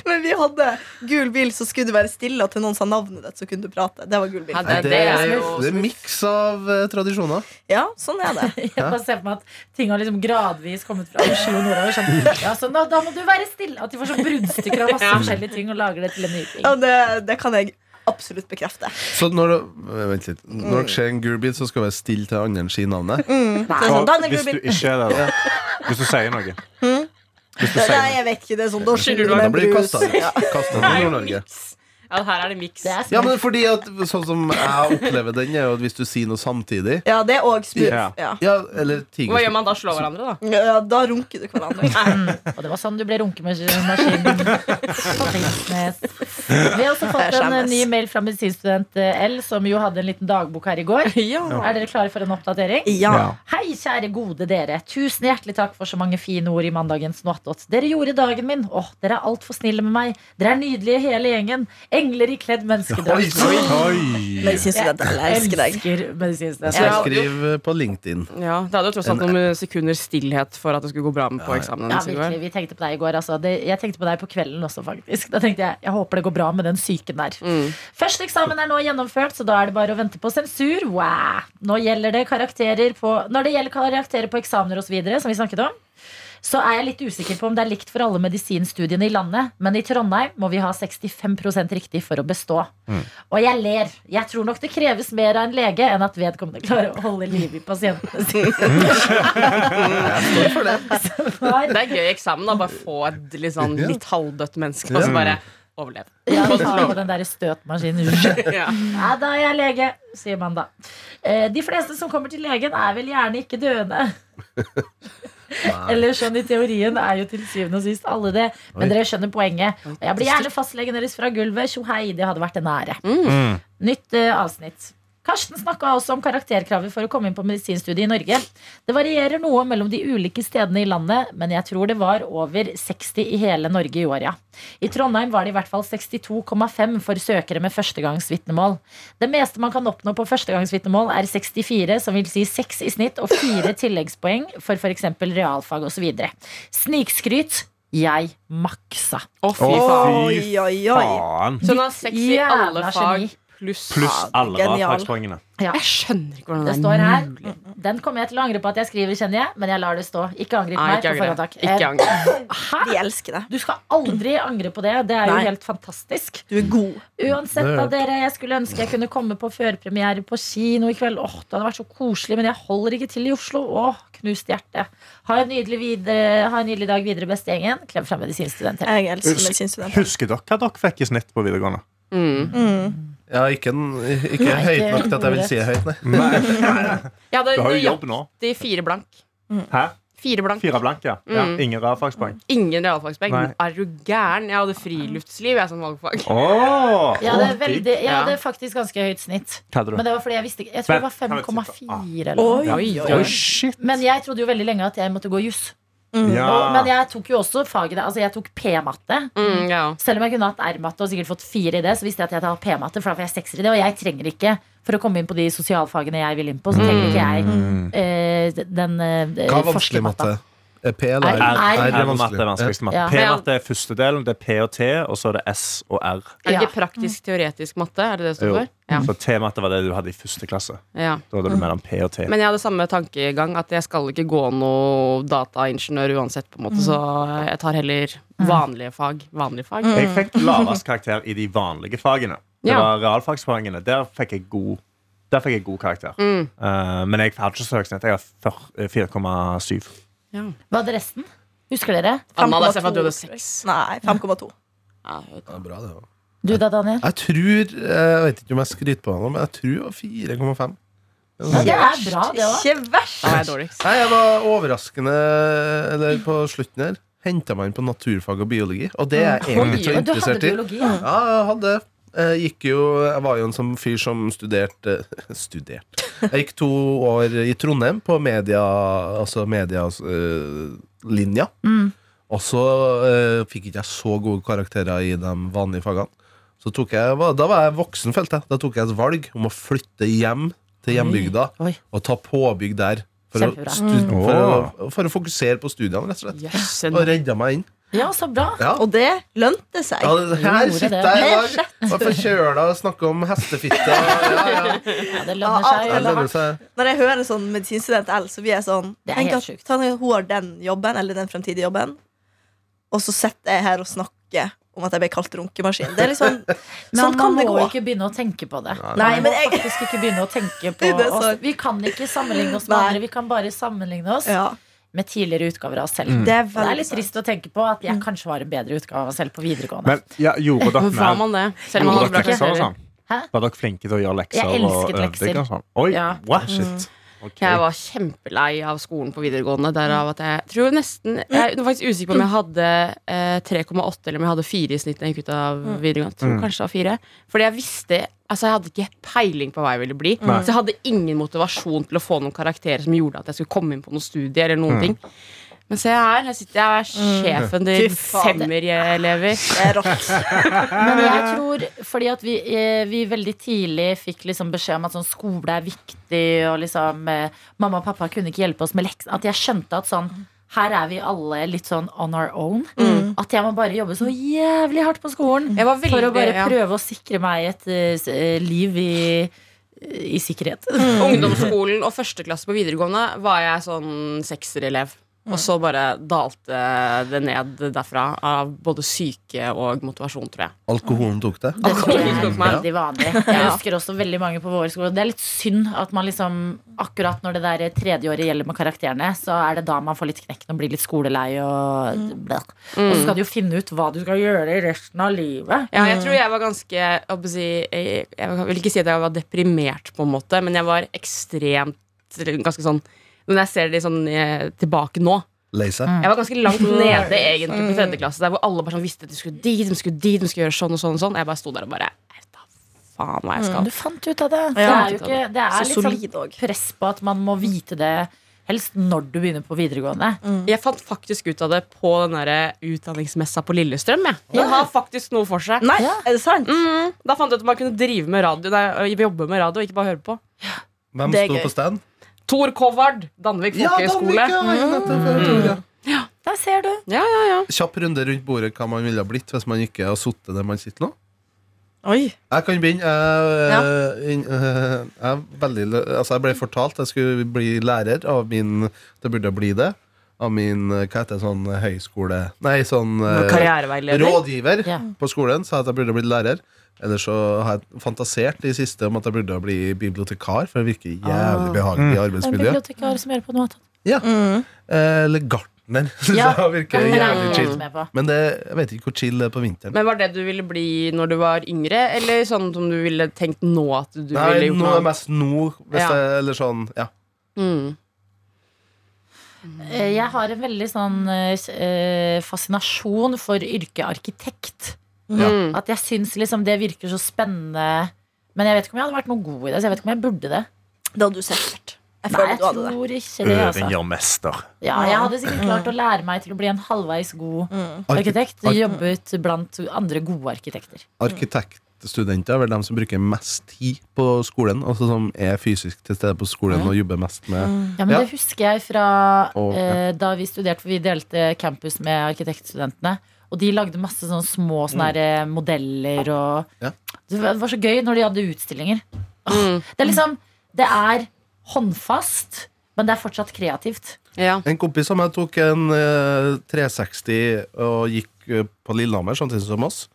Speaker 3: Men vi hadde gul bil, så skulle du være stille, og til noen sa navnet ditt, så kunne du prate. Det var gul bil.
Speaker 5: Ja,
Speaker 4: Nei,
Speaker 5: det,
Speaker 4: det
Speaker 5: er
Speaker 4: er
Speaker 5: jo
Speaker 4: Det er miks av eh, tradisjoner.
Speaker 3: Ja, sånn er det.
Speaker 2: Jeg bare ser for meg at ting har liksom gradvis kommet fra Oslo og nordover. Sånn. Ja, så nå, da må du være stille! At de får sånn bruddstykker av masse forskjellige ting og lager det til en ny ting.
Speaker 3: Og det, det kan jeg absolutt bekrefte.
Speaker 4: Så når det, eh, vent litt. Når det skjer en gul bil, så skal det være stille til andre enn si navnet.
Speaker 3: Så det er sånn, da er det gul
Speaker 6: Hvis du
Speaker 3: bil.
Speaker 6: ikke er det, da. Hvis du sier noe. Hvis du sier
Speaker 3: Nei,
Speaker 6: noe.
Speaker 3: jeg vet ikke. Det er sånn, da skylder du
Speaker 4: Da
Speaker 3: meg
Speaker 4: blir det
Speaker 3: brus.
Speaker 4: kasta ut.
Speaker 6: liksom.
Speaker 3: Ja.
Speaker 4: Kastet ut i
Speaker 5: Det er jo
Speaker 4: Nord-Norge.
Speaker 5: miks. Ja, her er det miks.
Speaker 2: Det er
Speaker 4: Ja,
Speaker 2: smart.
Speaker 4: men fordi at Sånn som jeg opplever den, er jo at hvis du sier noe samtidig
Speaker 3: ja, det er òg
Speaker 6: Ja.
Speaker 3: smooth. Ja.
Speaker 4: Ja, eller tiger
Speaker 5: Hva gjør man da? Slår hverandre, da?
Speaker 3: Ja, da runker du hverandre.
Speaker 2: Og det var sånn du ble runkemaskinen. På Finnsnes. Vi har også fått en eh, ny mail fra medisinstudent eh, L, som jo hadde en liten dagbok her i går. Er dere klare for en oppdatering?
Speaker 3: Ja.
Speaker 2: Hei, kjære gode dere. Tusen hjertelig takk for så mange fine ord i mandagens Noatot. Dere gjorde dagen min. Åh, dere er altfor snille med meg. Dere er nydelige hele gjengen. Engler i kledd menneskedrakt.
Speaker 6: Oi!
Speaker 3: Medisinstudent, jeg elsker deg.
Speaker 2: medisinstudent.
Speaker 4: Så jeg
Speaker 5: Ja.
Speaker 4: skriver på LinkedIn.
Speaker 5: Ja, Det hadde jo tross alt noen sekunder stillhet for at det skulle gå bra med på eksamen.
Speaker 2: Ja, virkelig, Vi tenkte på deg i går. Altså. Det, jeg tenkte på deg på kvelden også, faktisk. Da tenkte Jeg jeg håper det går bra med den syken der. Første eksamen er nå gjennomført, så da er det bare å vente på sensur. Wow. Nå gjelder det karakterer på, når det gjelder karakterer på eksamener osv., som vi snakket om, så er jeg litt usikker på om det er likt for alle medisinstudiene i landet, men i Trondheim må vi ha 65 riktig for å bestå. Og jeg ler. Jeg tror nok det kreves mer av en lege enn at vedkommende klarer å holde liv i pasientene sine. Så var
Speaker 5: Det er gøy eksamen. da, Bare få et litt, sånn,
Speaker 4: Ja.
Speaker 5: litt halvdødt menneske, og så bare overleve.
Speaker 2: Ja, ta på den der støtmaskinen.
Speaker 5: Ja.
Speaker 2: Nei, da er jeg lege, sier man da. Eh, De fleste som kommer til legen, er vel gjerne ikke døende. Eller sånn i teorien er jo til syvende og sist alle det. Men
Speaker 4: Oi.
Speaker 2: dere skjønner poenget. Og jeg blir gjerne fastlegen deres fra gulvet. Tjo hei, det hadde vært en ære. Nytt eh, avsnitt. Karsten snakka også om karakterkravet for å komme inn på medisinstudiet i Norge. Det varierer noe mellom de ulike stedene i landet, men jeg tror det var over 60 i hele Norge i år, ja. I Trondheim var det i hvert fall 62,5 for søkere med førstegangsvitnemål. Det meste man kan oppnå på førstegangsvitnemål er 64, som vil si 6 i snitt, og 4 tilleggspoeng for f.eks. realfag osv. Snikskryt jeg maksa.
Speaker 5: Å, fy faen.
Speaker 3: Oi, oi, oi.
Speaker 6: Faen.
Speaker 5: Så hun har seks i
Speaker 2: Jævla
Speaker 5: alle fag
Speaker 2: geni.
Speaker 5: pluss
Speaker 6: Pluss alle
Speaker 3: Genial.
Speaker 6: realfagspoengene.
Speaker 5: Jeg skjønner ikke hvordan
Speaker 2: Det
Speaker 5: det
Speaker 2: står
Speaker 5: er
Speaker 2: her. Mm,
Speaker 5: mulig.
Speaker 2: Den kommer jeg til å angre på at jeg skriver, kjenner jeg, men jeg lar det stå. Ikke angrip
Speaker 5: Nei,
Speaker 2: meg.
Speaker 5: ikke
Speaker 2: på forhånd,
Speaker 5: angre.
Speaker 2: takk.
Speaker 5: Ikke
Speaker 2: Eh,
Speaker 5: angre.
Speaker 3: Vi elsker deg.
Speaker 2: Du skal aldri angre på det. Det er jo
Speaker 3: Nei.
Speaker 2: helt fantastisk.
Speaker 3: Du er god.
Speaker 2: Uansett
Speaker 4: Det er-
Speaker 2: av dere, jeg skulle ønske jeg kunne komme på førpremiere på kino i kveld. Åh, Det hadde vært så koselig, men jeg holder ikke til i Oslo. Åh, knust hjerte. Ha en nydelig, videre, ha en nydelig dag videre, beste gjengen. Klem fra medisinstudenter.
Speaker 3: Jeg elsker medisinstudent.
Speaker 6: Husker dere hva dere fikk i snitt på videregående?
Speaker 5: Mm.
Speaker 3: Mm.
Speaker 4: Ja, ikke, en- ikke
Speaker 2: Nei,
Speaker 4: høyt
Speaker 2: ikke
Speaker 4: nok til at jeg vil si høyt, nei.
Speaker 5: Jeg hadde
Speaker 6: Du har jo jobb
Speaker 5: nøyaktig
Speaker 6: nå.
Speaker 5: fire blank.
Speaker 6: Hæ?
Speaker 5: Fire blank.
Speaker 6: Fire blank, ja. ja.
Speaker 3: Mm.
Speaker 6: Ingen realfagspoeng.
Speaker 5: Ingen realfagspoeng.
Speaker 6: Nei.
Speaker 5: Er du gæren? Jeg hadde friluftsliv jeg som valgfag.
Speaker 6: Oh,
Speaker 2: Jeg hadde, veldig, jeg
Speaker 5: Ja.
Speaker 2: hadde faktisk ganske høyt snitt.
Speaker 6: Hva hadde
Speaker 2: Men
Speaker 6: du?
Speaker 2: det var fordi jeg visste ikke Jeg tror det var
Speaker 6: Men, kan vi tippe?
Speaker 2: 5,4 eller
Speaker 3: Oi,
Speaker 2: noe.
Speaker 5: Oi,
Speaker 6: Oi,
Speaker 5: oi.
Speaker 6: shit.
Speaker 2: Men jeg trodde jo veldig lenge at jeg måtte gå juss.
Speaker 3: Mm.
Speaker 6: Ja.
Speaker 4: Ah.
Speaker 2: Og- Men jeg tok jo også faget Altså jeg tok P-matte.
Speaker 5: Mm, ja.
Speaker 2: Selv om jeg kunne hatt R-matte og sikkert fått fire i det, så visste jeg at jeg tar P-matte, for da får jeg sekser i det. Og jeg trenger ikke, for å komme inn på de sosialfagene jeg vil inn på, så trenger ikke jeg eh, den eh,
Speaker 4: Mm. Hva er vanskelig matte?
Speaker 2: forskermatta.
Speaker 4: Er P eller
Speaker 2: Er- er-
Speaker 4: R? R
Speaker 6: R
Speaker 4: er
Speaker 6: og matte er
Speaker 4: vanskelig.
Speaker 6: vanskeligste
Speaker 2: Ja.
Speaker 6: matte. P-matte er første delen, det er P og T, og så er det S og R.
Speaker 5: Er det
Speaker 2: Ja.
Speaker 5: ikke praktisk-teoretisk matte? Er det det det står
Speaker 6: Jo.
Speaker 5: for? Ja.
Speaker 6: Så T-matte var det du hadde i første klasse.
Speaker 5: ja.
Speaker 6: Da hadde du mellom P og T.
Speaker 5: Men jeg hadde samme tankegang, at jeg skal ikke gå noe dataingeniør uansett, på en måte, så jeg tar heller vanlige fag. Vanlige fag.
Speaker 6: Jeg fikk lavest karakter i de vanlige fagene. Det
Speaker 5: Mm. Ja.
Speaker 6: var realfagspoengene. Der fikk jeg god, der fikk jeg god karakter.
Speaker 5: Mm.
Speaker 6: Eh, men jeg hadde ikke så høyt snitt. Jeg har fyr- eh, 4,7.
Speaker 5: Ja.
Speaker 2: Hva hadde resten? Husker dere?
Speaker 5: Anna, da ser jeg for at du hadde
Speaker 3: 5,2.
Speaker 5: seks.
Speaker 3: Nei, 5,2.
Speaker 5: Ja,
Speaker 4: Ja, bra det også.
Speaker 2: Du da, Daniel?
Speaker 4: Jeg tror Jeg vet ikke om jeg skryter på han, men jeg tror det var 4,5.
Speaker 2: Det er bra, det òg.
Speaker 3: Ikke verst.
Speaker 5: da var jeg dårligst.
Speaker 4: Nei, jeg var overraskende Eller på slutten her henta meg inn på naturfag og biologi, og det er jeg egentlig ikke
Speaker 2: Oi,
Speaker 4: så
Speaker 2: du hadde
Speaker 4: interessert i.
Speaker 2: biologi, ja.
Speaker 4: Ja, jeg hadde jeg gikk jo, jeg var jo en sånn fyr som studerte Studert Jeg gikk to år i Trondheim på media Altså medialinja
Speaker 2: Mm.
Speaker 4: Og så eh, fikk ikke jeg så gode karakterer i de vanlige fagene Så tok jeg, var- da var jeg voksen felt jeg Da tok jeg et valg om å flytte hjem til hjembygda
Speaker 2: Oi.
Speaker 4: Og ta påbygg der for å,
Speaker 2: Kjempebra. Mm.
Speaker 4: stu- for, å, for å fokusere på studiene rett og slett
Speaker 5: Jøssen.
Speaker 4: Og redda meg inn
Speaker 2: ja, så bra.
Speaker 4: Ja,
Speaker 3: Og det lønte seg.
Speaker 4: ja, det, her
Speaker 2: Gjorde
Speaker 4: sitter
Speaker 2: det.
Speaker 4: jeg
Speaker 3: Helt
Speaker 4: i dag og er forkjøla og snakker om hestefitte. Ja, ja.
Speaker 2: Ja, det lønner seg.
Speaker 4: Det
Speaker 2: eller?
Speaker 4: lønner seg.
Speaker 3: Når jeg hører sånn medisinstudent L, så blir jeg sånn
Speaker 2: Det er
Speaker 3: Tenk
Speaker 2: helt
Speaker 3: at
Speaker 2: sjukt.
Speaker 3: tenk at hun har den jobben, eller den fremtidige jobben, og så sitter jeg her og snakker om at jeg ble kalt runkemaskin. Det er liksom, sånn
Speaker 2: Men man
Speaker 3: kan det
Speaker 2: må
Speaker 3: gå.
Speaker 2: ikke begynne å tenke på det. Nei,
Speaker 4: Nei.
Speaker 3: Nei,
Speaker 2: men må
Speaker 3: men jeg-
Speaker 2: faktisk ikke begynne å tenke på
Speaker 3: Det er
Speaker 2: oss.
Speaker 3: sant.
Speaker 2: Vi kan ikke sammenligne oss med
Speaker 3: Nei.
Speaker 2: andre. Vi kan bare sammenligne oss
Speaker 3: Ja,
Speaker 2: med tidligere utgaver av oss selv.
Speaker 3: det er
Speaker 2: Det
Speaker 3: veldig
Speaker 2: er litt trist å tenke på at jeg kanskje var en bedre utgave av meg selv på videregående.
Speaker 6: Men ja, gjorde dere
Speaker 5: Men var
Speaker 6: mer
Speaker 5: man det? Selv om man
Speaker 6: Gjorde
Speaker 5: hadde bra
Speaker 6: dere lekser og
Speaker 5: karakterer.
Speaker 6: sånn?
Speaker 2: Hæ?
Speaker 6: Var dere flinke til å gjøre lekser?
Speaker 2: Jeg elsket
Speaker 6: og øvde dere
Speaker 2: lekser.
Speaker 6: og sånn? Oi,
Speaker 5: Ja. Mm.
Speaker 6: what? Shit. Ok.
Speaker 5: Jeg var kjempelei av skolen på videregående. Derav at jeg tror nesten Jeg var faktisk usikker på om jeg hadde eh, 3,8 eller om jeg hadde 4 i snitt da jeg gikk ut av
Speaker 2: Mm.
Speaker 5: videregående. Jeg Tror kanskje det var 4. Fordi jeg visste Altså Jeg hadde ikke peiling på hva jeg ville bli. Så jeg hadde ingen motivasjon til å få noen karakterer som gjorde at jeg skulle komme inn på noe studie. Eller noen ting Men se her, her sitter jeg
Speaker 2: Mm.
Speaker 5: og er sjefen
Speaker 3: Fy
Speaker 5: til
Speaker 3: faen.
Speaker 5: femmerelever.
Speaker 3: Det er rått.
Speaker 2: Men jeg tror, fordi at vi, eh, vi veldig tidlig fikk liksom beskjed om at sånn skole er viktig, og liksom eh, mamma og pappa kunne ikke hjelpe oss med lekser. At jeg skjønte at sånn her er vi alle litt sånn on our own. At jeg må bare jobbe så jævlig hardt på skolen
Speaker 5: Jeg var
Speaker 2: Mm. for å
Speaker 5: veldig-
Speaker 2: bare
Speaker 5: ja.
Speaker 2: prøve å sikre meg et eh, s- eh, liv i, eh, i sikkerhet.
Speaker 5: Ungdomsskolen og førsteklasse på videregående var jeg sånn sekserelev. Og så bare dalte det ned derfra av både syke og motivasjon, tror jeg.
Speaker 4: Alkoholen tok det.
Speaker 2: Det tror jeg er
Speaker 5: Alkoholisme hos meg.
Speaker 2: veldig vanlig. Jeg husker også veldig mange på vår skole. Det er litt synd at man liksom akkurat når det der tredje året gjelder med karakterene, så er det da man får litt knekken og blir litt skolelei og
Speaker 3: Mm.
Speaker 2: blæh. Og så skal du jo finne ut hva du skal gjøre i resten av livet.
Speaker 5: Ja, jeg tror jeg var ganske jeg håper å si, jeg, jeg vil ikke si at jeg var deprimert, på en måte, men jeg var ekstremt ganske sånn Når jeg ser det sånn eh, tilbake nå
Speaker 4: Lei seg.
Speaker 5: Jeg var ganske langt nede egentlig på tredje klasse, der hvor alle bare sånn visste at de skulle dit, de skulle dit, de skulle gjøre sånn og sånn og sånn. Jeg bare sto der og bare Jeg vet da faen hva jeg skal.
Speaker 2: Du fant ut av det. Det
Speaker 3: Ja.
Speaker 2: er jo ikke Det
Speaker 3: Så
Speaker 2: er litt sånn
Speaker 3: solid òg.
Speaker 2: press på at man må vite det. Helst når du begynner på videregående.
Speaker 3: Mm.
Speaker 5: Jeg fant faktisk ut av det på den der utdanningsmessa på Lillestrøm. Jeg. Den har faktisk noe for seg.
Speaker 3: Nei, er det sant?
Speaker 5: Mm, da fant jeg ut at man kunne drive med radio nei, jobbe med radio, ikke bare høre på.
Speaker 4: Hvem
Speaker 3: Det er
Speaker 4: sto
Speaker 3: gøy.
Speaker 4: på stand?
Speaker 5: Tor Kovard, Danvik folkehøgskole. Ja,
Speaker 4: Folkehøyskole.
Speaker 2: Der ser du.
Speaker 5: ja, ja,
Speaker 4: Kjapp runde rundt bordet hva man ville ha blitt hvis man ikke har sittet der man sitter nå.
Speaker 3: Oi.
Speaker 4: Jeg kan begynne. Jeg, øh, inn- øh, jeg, er veldig, lø- altså jeg ble fortalt jeg skulle bli lærer av min Det burde jeg bli det. Av min øh, hva heter det, sånn høyskole... Nei, sånn øh,
Speaker 5: Karriereveileder.
Speaker 4: rådgiver
Speaker 2: Ja.
Speaker 4: på skolen sa at jeg burde blitt lærer. Eller så har jeg fantasert i siste om at jeg burde bli bibliotekar, for det virker
Speaker 2: Ah.
Speaker 4: jævlig behagelig
Speaker 2: En
Speaker 4: arbeidsmiljø.
Speaker 2: bibliotekar som gjør på noe annet.
Speaker 4: Ja.
Speaker 2: Mm.
Speaker 4: Eller gartner. synes
Speaker 2: Ja.
Speaker 4: jeg virker
Speaker 2: Det er
Speaker 4: jævlig
Speaker 2: jeg
Speaker 4: chill.
Speaker 2: helt med på.
Speaker 4: Men det, jeg vet ikke hvor chill det er på vinteren.
Speaker 5: Men Var det du ville bli når du var yngre, eller sånn som du ville tenkt nå at du ville
Speaker 4: Nei,
Speaker 5: gjort
Speaker 4: nå
Speaker 5: noe?
Speaker 4: er mest nå, hvis
Speaker 5: Ja.
Speaker 4: det, eller sånn. Ja.
Speaker 5: Mm.
Speaker 2: Eh, Jeg har en veldig sånn eh, s- eh, fascinasjon for yrket arkitekt.
Speaker 4: Ja.
Speaker 5: Mm.
Speaker 2: At jeg syns liksom det virker så spennende. Men jeg vet ikke om jeg hadde vært noe god i det. Så jeg vet ikke om jeg burde det.
Speaker 3: Det hadde du sikkert. Jeg
Speaker 2: Nei,
Speaker 3: føler
Speaker 2: jeg
Speaker 3: du hadde Mm. det.
Speaker 2: tror ikke det. Altså.
Speaker 6: gjør mester.
Speaker 2: Ja, jeg hadde sikkert klart å lære meg til å bli en halvveis god
Speaker 3: Mm.
Speaker 2: Mm. arkitekt. Mm.
Speaker 4: Arki-
Speaker 2: Jobbet blant andre gode arkitekter.
Speaker 4: Arkitektstudenter er vel dem som bruker mest tid på skolen. Altså som er fysisk til stede på skolen og jobber mest med
Speaker 2: Ja, men
Speaker 4: Ja.
Speaker 2: Det husker jeg fra
Speaker 4: Og-
Speaker 2: eh, da vi studerte, for vi delte campus med arkitektstudentene. Og de lagde masse sånne små sånne her, eh, modeller og
Speaker 4: Mm. Ja.
Speaker 2: Det var det var så gøy når de hadde utstillinger. Åh, Det er liksom Det er håndfast, men det er fortsatt kreativt.
Speaker 5: Ja.
Speaker 4: En kompis som jeg tok en eh, 360 og gikk eh, på Lillehammer samtidig som oss.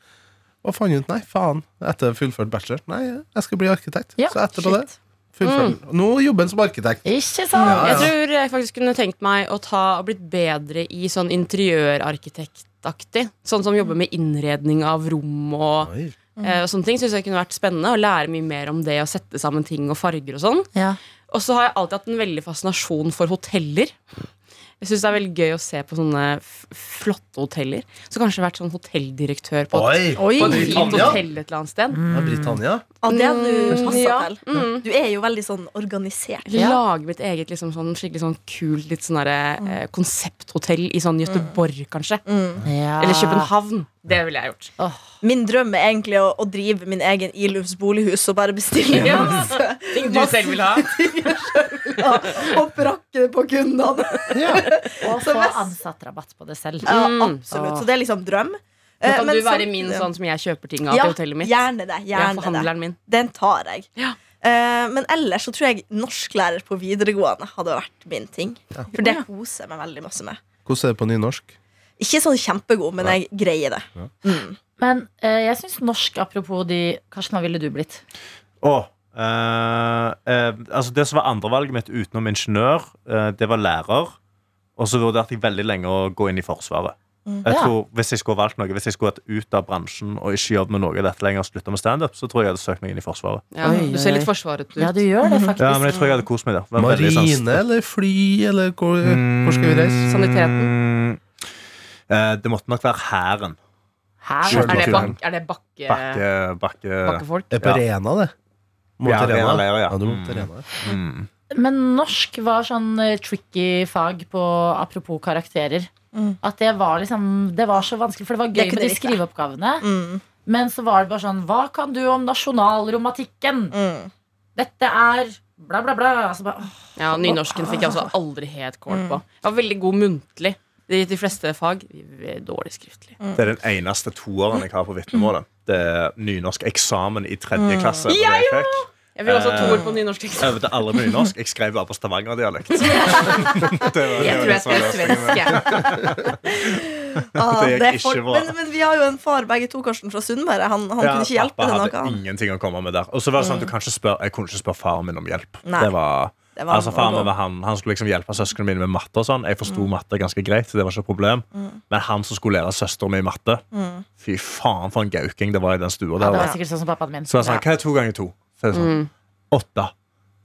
Speaker 4: Og fant ut nei, faen, etter fullført bachelor Nei, jeg skal bli arkitekt.
Speaker 2: Ja,
Speaker 4: så etterpå det fullført. Nå jobber han som arkitekt.
Speaker 2: Ikke sant?
Speaker 5: Jeg tror jeg faktisk kunne tenkt meg å ta og blitt bedre i sånn interiørarkitektaktig. Sånn som jobber med innredning av rom og
Speaker 4: Oi.
Speaker 3: Mm.
Speaker 5: Eh, og sånne ting synes jeg kunne vært spennende Å lære mye mer om det Å sette sammen ting og farger og sånn
Speaker 2: Ja.
Speaker 5: Og så har jeg alltid hatt en veldig fascinasjon for hoteller Jeg syns det er veldig gøy å se på sånne f flotte hoteller. Så kanskje vært sånn hotelldirektør på et
Speaker 2: Oi.
Speaker 4: på
Speaker 5: fint
Speaker 4: Britannia?
Speaker 5: hotell et eller annet
Speaker 3: Mm.
Speaker 5: sted.
Speaker 4: Ja, Britannia.
Speaker 3: Ja, det hadde du passa
Speaker 5: ja.
Speaker 3: til. Du er jo veldig sånn organisert.
Speaker 2: Mm, Ja.
Speaker 5: Lage mitt eget liksom, sånn, skikkelig sånn kult litt sånn derre,
Speaker 3: Mm.
Speaker 5: eh, konsepthotell i sånn Göteborg, kanskje.
Speaker 2: Ja.
Speaker 3: Ah.
Speaker 5: Eller København. Det ville jeg gjort.
Speaker 3: Min drøm er egentlig å, å drive min egen Ilufs bolighus og bare bestille masse
Speaker 5: Ting du selv vil ha.
Speaker 3: og brakke det på kundene.
Speaker 2: Og
Speaker 3: Så
Speaker 2: få
Speaker 3: hvis-
Speaker 2: ansattrabatt på det selv.
Speaker 3: Ja,
Speaker 5: Mm.
Speaker 3: absolutt. Så det er liksom drøm.
Speaker 5: Nå
Speaker 3: Eh,
Speaker 5: kan
Speaker 3: men
Speaker 5: du være
Speaker 3: samtidig-
Speaker 5: min sånn som jeg kjøper ting av
Speaker 3: Ja,
Speaker 5: til hotellet mitt.
Speaker 3: Gjerne det.
Speaker 5: Jeg er
Speaker 3: Gjerne det.
Speaker 5: forhandleren min.
Speaker 3: Den tar jeg.
Speaker 5: Ja.
Speaker 3: Eh, men ellers så tror jeg norsklærer på videregående hadde vært min ting. For det koser jeg meg veldig masse med.
Speaker 4: Hvordan er det på nynorsk?
Speaker 3: Ikke sånn kjempegod, men jeg greier det. Mm.
Speaker 2: Men eh, jeg syns norsk, apropos de Karsten, hva ville du blitt?
Speaker 6: Åh, eh, eh, altså det som var andrevalget mitt utenom ingeniør, eh, det var lærer. Og så vurderte jeg veldig lenge å gå inn i Forsvaret. Jeg
Speaker 2: Ja.
Speaker 6: tror, hvis jeg skulle valgt noe, hvis jeg skulle vært ut av bransjen og ikke jobbet med noe i dette lenger, og sluttet med standup, så tror jeg jeg hadde søkt meg inn i Forsvaret.
Speaker 5: Ja,
Speaker 2: Oi,
Speaker 5: du ser
Speaker 2: oi,
Speaker 5: litt
Speaker 2: oi.
Speaker 5: forsvaret ut.
Speaker 2: Ja, du gjør det, faktisk.
Speaker 6: Ja, men jeg tror jeg hadde kost meg der. Det var veldig sånn-
Speaker 4: Marine eller fly, eller hvor, hvor skal vi
Speaker 6: Mm.
Speaker 4: reise?
Speaker 5: Saniteten.
Speaker 6: Eh, det måtte nok være Hæren.
Speaker 2: Her,
Speaker 5: Er det, bak,
Speaker 6: Sjømatklubben.
Speaker 5: er det bakke,
Speaker 6: Bakke, bakke.
Speaker 5: bakkefolk?
Speaker 4: Er på
Speaker 6: Ja.
Speaker 4: Rena, det. Må
Speaker 6: Ja,
Speaker 4: til Rena.
Speaker 6: Rena Leira, ja.
Speaker 4: du må til
Speaker 6: Mm.
Speaker 4: Rena.
Speaker 6: Mm.
Speaker 2: Men norsk var sånn eh, tricky fag på apropos karakterer.
Speaker 3: Mm.
Speaker 2: At det var liksom Det var så vanskelig, for det var
Speaker 3: Det
Speaker 2: gøy
Speaker 3: kunne
Speaker 2: med de
Speaker 3: vi ikke.
Speaker 2: skriveoppgavene.
Speaker 3: Mm.
Speaker 2: Men så var det bare sånn Hva kan du om nasjonalromantikken?
Speaker 3: Mm.
Speaker 2: Dette er bla, bla, bla. Altså bare, åh,
Speaker 5: Ja, Nynorsken fikk jeg også aldri helt kål på. Jeg var veldig god muntlig. De, de fleste fag vi er dårlig skriftlig.
Speaker 6: Det er den eneste toeren jeg har på vitnemålet. Det er nynorsk eksamen i tredje klasse. og det Jeg fikk.
Speaker 5: Jeg vil også ha toer
Speaker 6: Eh,
Speaker 5: på nynorsk. eksamen.
Speaker 6: Jeg øvde aldri på nynorsk. Jeg skrev bare på stavangerdialekt. Det var- det var
Speaker 5: Jeg tror
Speaker 6: det
Speaker 5: jeg
Speaker 6: som var
Speaker 5: skal være svensk. jeg.
Speaker 3: Ah,
Speaker 6: Det gikk
Speaker 3: det er
Speaker 6: ikke
Speaker 3: folk-
Speaker 6: bra.
Speaker 3: men, men vi har jo en far, begge to, Karsten, fra Sunnmøre. Han, han kunne ikke
Speaker 6: Ja,
Speaker 3: hjelpe
Speaker 6: pappa
Speaker 3: til
Speaker 6: hadde
Speaker 3: noe. Han.
Speaker 6: ingenting å komme med der. Og så var det sånn at du kan ikke spørre, Jeg kunne ikke spørre faren min om hjelp.
Speaker 3: Nei.
Speaker 6: Det var,
Speaker 3: Det var
Speaker 6: altså faren
Speaker 3: noe.
Speaker 6: min var han, han skulle liksom hjelpe søsknene mine med matte og sånn. Jeg forsto matte ganske greit, så det var ikke et problem. Men han som skulle lære søsteren min matte, fy faen for en gauking det var i den stua
Speaker 2: ja,
Speaker 6: der.
Speaker 2: det
Speaker 6: da.
Speaker 2: var sikkert sånn som pappaen min.
Speaker 6: Så jeg sa, hva er to ganger to? Så er det sånn,
Speaker 5: Mm.
Speaker 6: åtte.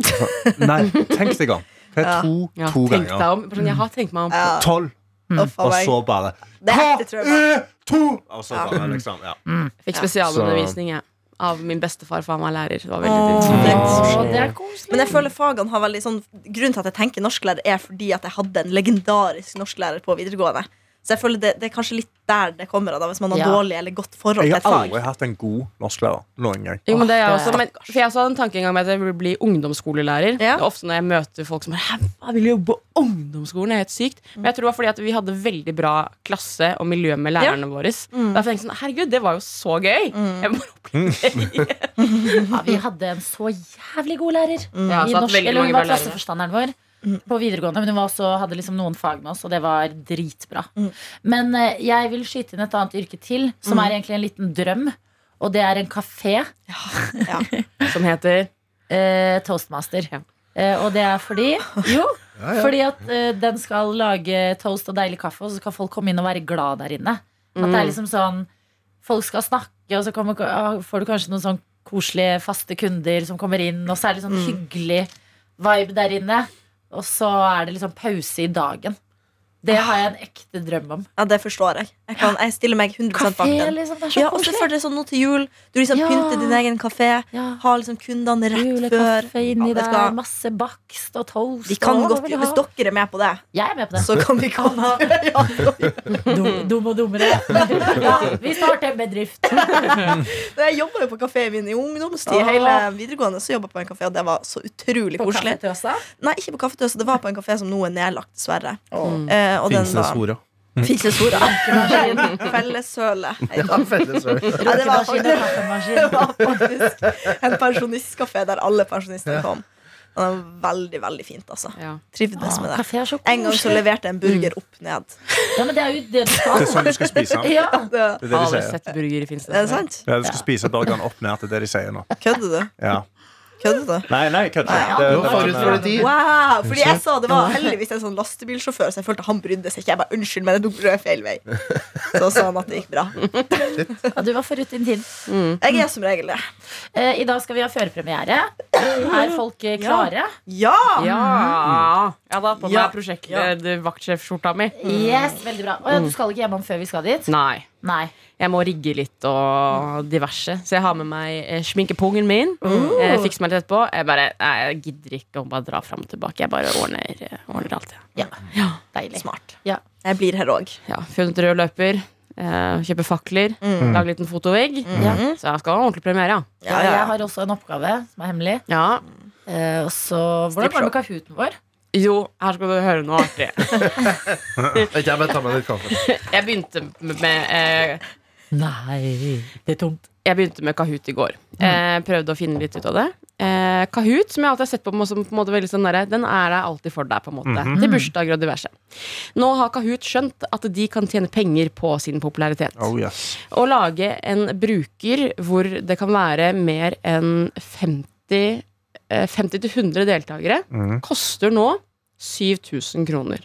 Speaker 6: Så, Nei, tenk deg om. Hva er to,
Speaker 5: Ja,
Speaker 6: to
Speaker 5: tenk deg
Speaker 6: ganger?
Speaker 5: om. Bare sånn, Jeg har tenkt meg om.
Speaker 3: Ja.
Speaker 6: Tolv.
Speaker 3: Uff, a
Speaker 6: Og
Speaker 3: meg.
Speaker 6: så bare
Speaker 3: Det er heftig, tror jeg. bare.
Speaker 6: E to! Og så bare, liksom, ja.
Speaker 5: Jeg Fikk spesialundervisning jeg, av min bestefar, for han var lærer. Det var veldig
Speaker 3: Åh,
Speaker 5: dyrt.
Speaker 3: det er
Speaker 2: Åh,
Speaker 3: koselig.
Speaker 2: det er koselig.
Speaker 3: Men jeg føler fagene har veldig sånn Grunnen til at jeg tenker norsklærer, er fordi at jeg hadde en legendarisk norsklærer på videregående. Så jeg føler det, det er kanskje litt der det kommer av, da, hvis man har
Speaker 2: Ja.
Speaker 3: dårlig eller godt forhold til
Speaker 6: Jeg
Speaker 3: et
Speaker 6: har
Speaker 3: fag.
Speaker 6: aldri hatt en god norsklærer noen gang.
Speaker 5: Jo, men det er jeg
Speaker 2: Åh,
Speaker 5: også men, For jeg også hadde en tanke en gang med at jeg ville bli ungdomsskolelærer. Det
Speaker 3: Ja.
Speaker 5: er ofte når jeg møter folk som er Hæ, jeg vil jobbe på ungdomsskolen, det er helt sykt.
Speaker 3: Mm.
Speaker 5: Men jeg tror det var fordi at vi hadde veldig bra klasse og miljø med lærerne våre.
Speaker 3: Mm.
Speaker 5: Derfor tenkte jeg sånn, herregud, det var jo så gøy! Jeg må
Speaker 2: Ja, vi hadde en så jævlig god lærer.
Speaker 3: Mm.
Speaker 5: Ja,
Speaker 2: I
Speaker 5: så at
Speaker 2: norsk,
Speaker 5: veldig
Speaker 2: eller hun
Speaker 5: mange Mm.
Speaker 2: var
Speaker 5: bra lærere.
Speaker 2: klasseforstanderen vår på videregående. Men hun var også, hadde liksom noen fag med oss, og det var dritbra.
Speaker 5: Mm.
Speaker 2: Men eh, jeg vil skyte inn et annet yrke til, som er egentlig en liten drøm. Og det er en kafé.
Speaker 5: Som heter
Speaker 2: eh, toastmaster.
Speaker 5: Ja.
Speaker 2: Eh, og det er fordi Jo, fordi at eh, den skal lage toast og deilig kaffe, og så skal folk komme inn og være glad der inne. At
Speaker 3: Mm.
Speaker 2: det er liksom sånn Folk skal snakke, og så kommer, ah, får du kanskje noen sånn koselige, faste kunder som kommer inn, og så er det
Speaker 3: Mm.
Speaker 2: sånn hyggelig vibe der inne. Og så er det liksom pause i dagen. Det
Speaker 3: Ah.
Speaker 2: har jeg en ekte drøm om.
Speaker 3: Ja, det forstår jeg. Jeg, kan, jeg stiller meg 100 bak
Speaker 2: Kafé,
Speaker 3: den.
Speaker 2: liksom. Det er så
Speaker 3: Ja, og så
Speaker 2: koselig.
Speaker 3: føler jeg sånn nå til jul. Du liksom
Speaker 2: Ja.
Speaker 3: pynter din egen kafé.
Speaker 2: Ja.
Speaker 3: Har liksom kundene rett før.
Speaker 2: Julekaffe inni
Speaker 3: Ja, vet du
Speaker 2: der,
Speaker 3: hva?
Speaker 2: masse bakst og toast.
Speaker 3: Vi kan
Speaker 2: og-
Speaker 3: godt, hvis dere er med på det,
Speaker 2: Jeg er med på det.
Speaker 3: så kan vi kan ha ja,
Speaker 2: Dum, dum og dummere. Ja, vi starter en bedrift.
Speaker 3: Jeg jobba jo på kafé i min i ungdomstid.
Speaker 2: Ah.
Speaker 3: Hele videregående så jobbet jeg på en kafé, og det var så utrolig koselig. Nei, ikke på Kaffetøs. Det var på en kafé som nå er nedlagt, dessverre. Eh, og den
Speaker 4: Finnsnes
Speaker 3: var
Speaker 4: hora.
Speaker 3: Finnsnes hora. Felleshøle. heter den. Ja, det var
Speaker 2: Røkemaskin og
Speaker 3: faktisk, det
Speaker 2: kaffemaskin.
Speaker 3: var faktisk en pensjonistkafé der alle pensjonistene kom. Og det var veldig, veldig fint, altså.
Speaker 5: ja.
Speaker 3: Trivdes med det.
Speaker 2: Kaffe er så
Speaker 3: En gang så
Speaker 2: koselig.
Speaker 3: leverte jeg en burger opp ned.
Speaker 2: Ja, men det er jo det du
Speaker 6: Det
Speaker 2: skal.
Speaker 6: er sånn du skal spise den.
Speaker 2: Ja.
Speaker 3: Det,
Speaker 6: Det er det de
Speaker 5: Alle
Speaker 6: sier.
Speaker 5: sett burger i Finnsnes.
Speaker 3: er det sant?
Speaker 6: Ja, du skal spise burgeren opp ned til det de sier nå.
Speaker 3: Kødder du?
Speaker 6: Ja.
Speaker 3: Kødder du?
Speaker 6: Nei, nei, kødder ikke. Det-
Speaker 4: Du var
Speaker 6: det var
Speaker 4: forut
Speaker 6: en,
Speaker 4: for din tid.
Speaker 3: Wow! Fordi jeg sa det var heldigvis en sånn lastebilsjåfør, så jeg følte han brydde seg ikke. Jeg bare, unnskyld, men jeg tok brød feil vei. Så sa han at det gikk bra.
Speaker 2: Ja, du var forut din tid.
Speaker 3: Jeg er som regel det.
Speaker 2: Eh, I dag skal vi ha førpremiere. Eh, Er folk eh, klare?
Speaker 3: Ja!
Speaker 5: Ja! Jeg har da på meg
Speaker 3: Ja.
Speaker 5: prosjektvaktsjefskjorta eh, mi.
Speaker 2: Yes, veldig bra. Å ja, du skal ikke hjemom før vi skal dit?
Speaker 5: Nei.
Speaker 2: Nei.
Speaker 5: Jeg må rigge litt og diverse. Så jeg har med meg eh, sminkepungen min. Eh, Fikser meg litt etterpå. Jeg bare, nei, jeg gidder ikke å bare dra fram og tilbake. Jeg bare ordner, eh, ordner alt. jeg.
Speaker 2: Ja. Deilig.
Speaker 3: Smart.
Speaker 2: Ja.
Speaker 3: Jeg blir her òg.
Speaker 5: Ja, Funnet rød løper. Eh, kjøper fakler.
Speaker 3: Mm.
Speaker 5: Lager en liten fotovegg. Så jeg skal ha en ordentlig premiere. ja.
Speaker 2: Ja, jeg har også en oppgave som er hemmelig.
Speaker 5: Ja.
Speaker 2: Eh, og så, Hvordan går det med kahooten vår?
Speaker 5: Jo, her skal du høre noe artig.
Speaker 4: Vent, Jeg bare tar meg litt kaffe.
Speaker 5: Jeg begynte med, eh,
Speaker 2: Nei, det er tungt. Mm.
Speaker 5: jeg begynte med Kahoot i går. Eh, prøvde å finne litt ut av det. Eh, Kahoot, som jeg alltid har sett på, som på en måte veldig sånn derre, den er der alltid for deg, på en måte. Til bursdager og diverse. Nå har Kahoot skjønt at de kan tjene penger på sin popularitet.
Speaker 6: Oh, yes.
Speaker 5: Å lage en bruker hvor det kan være mer enn 50 eh, 50-100 deltakere koster nå 7000 kroner.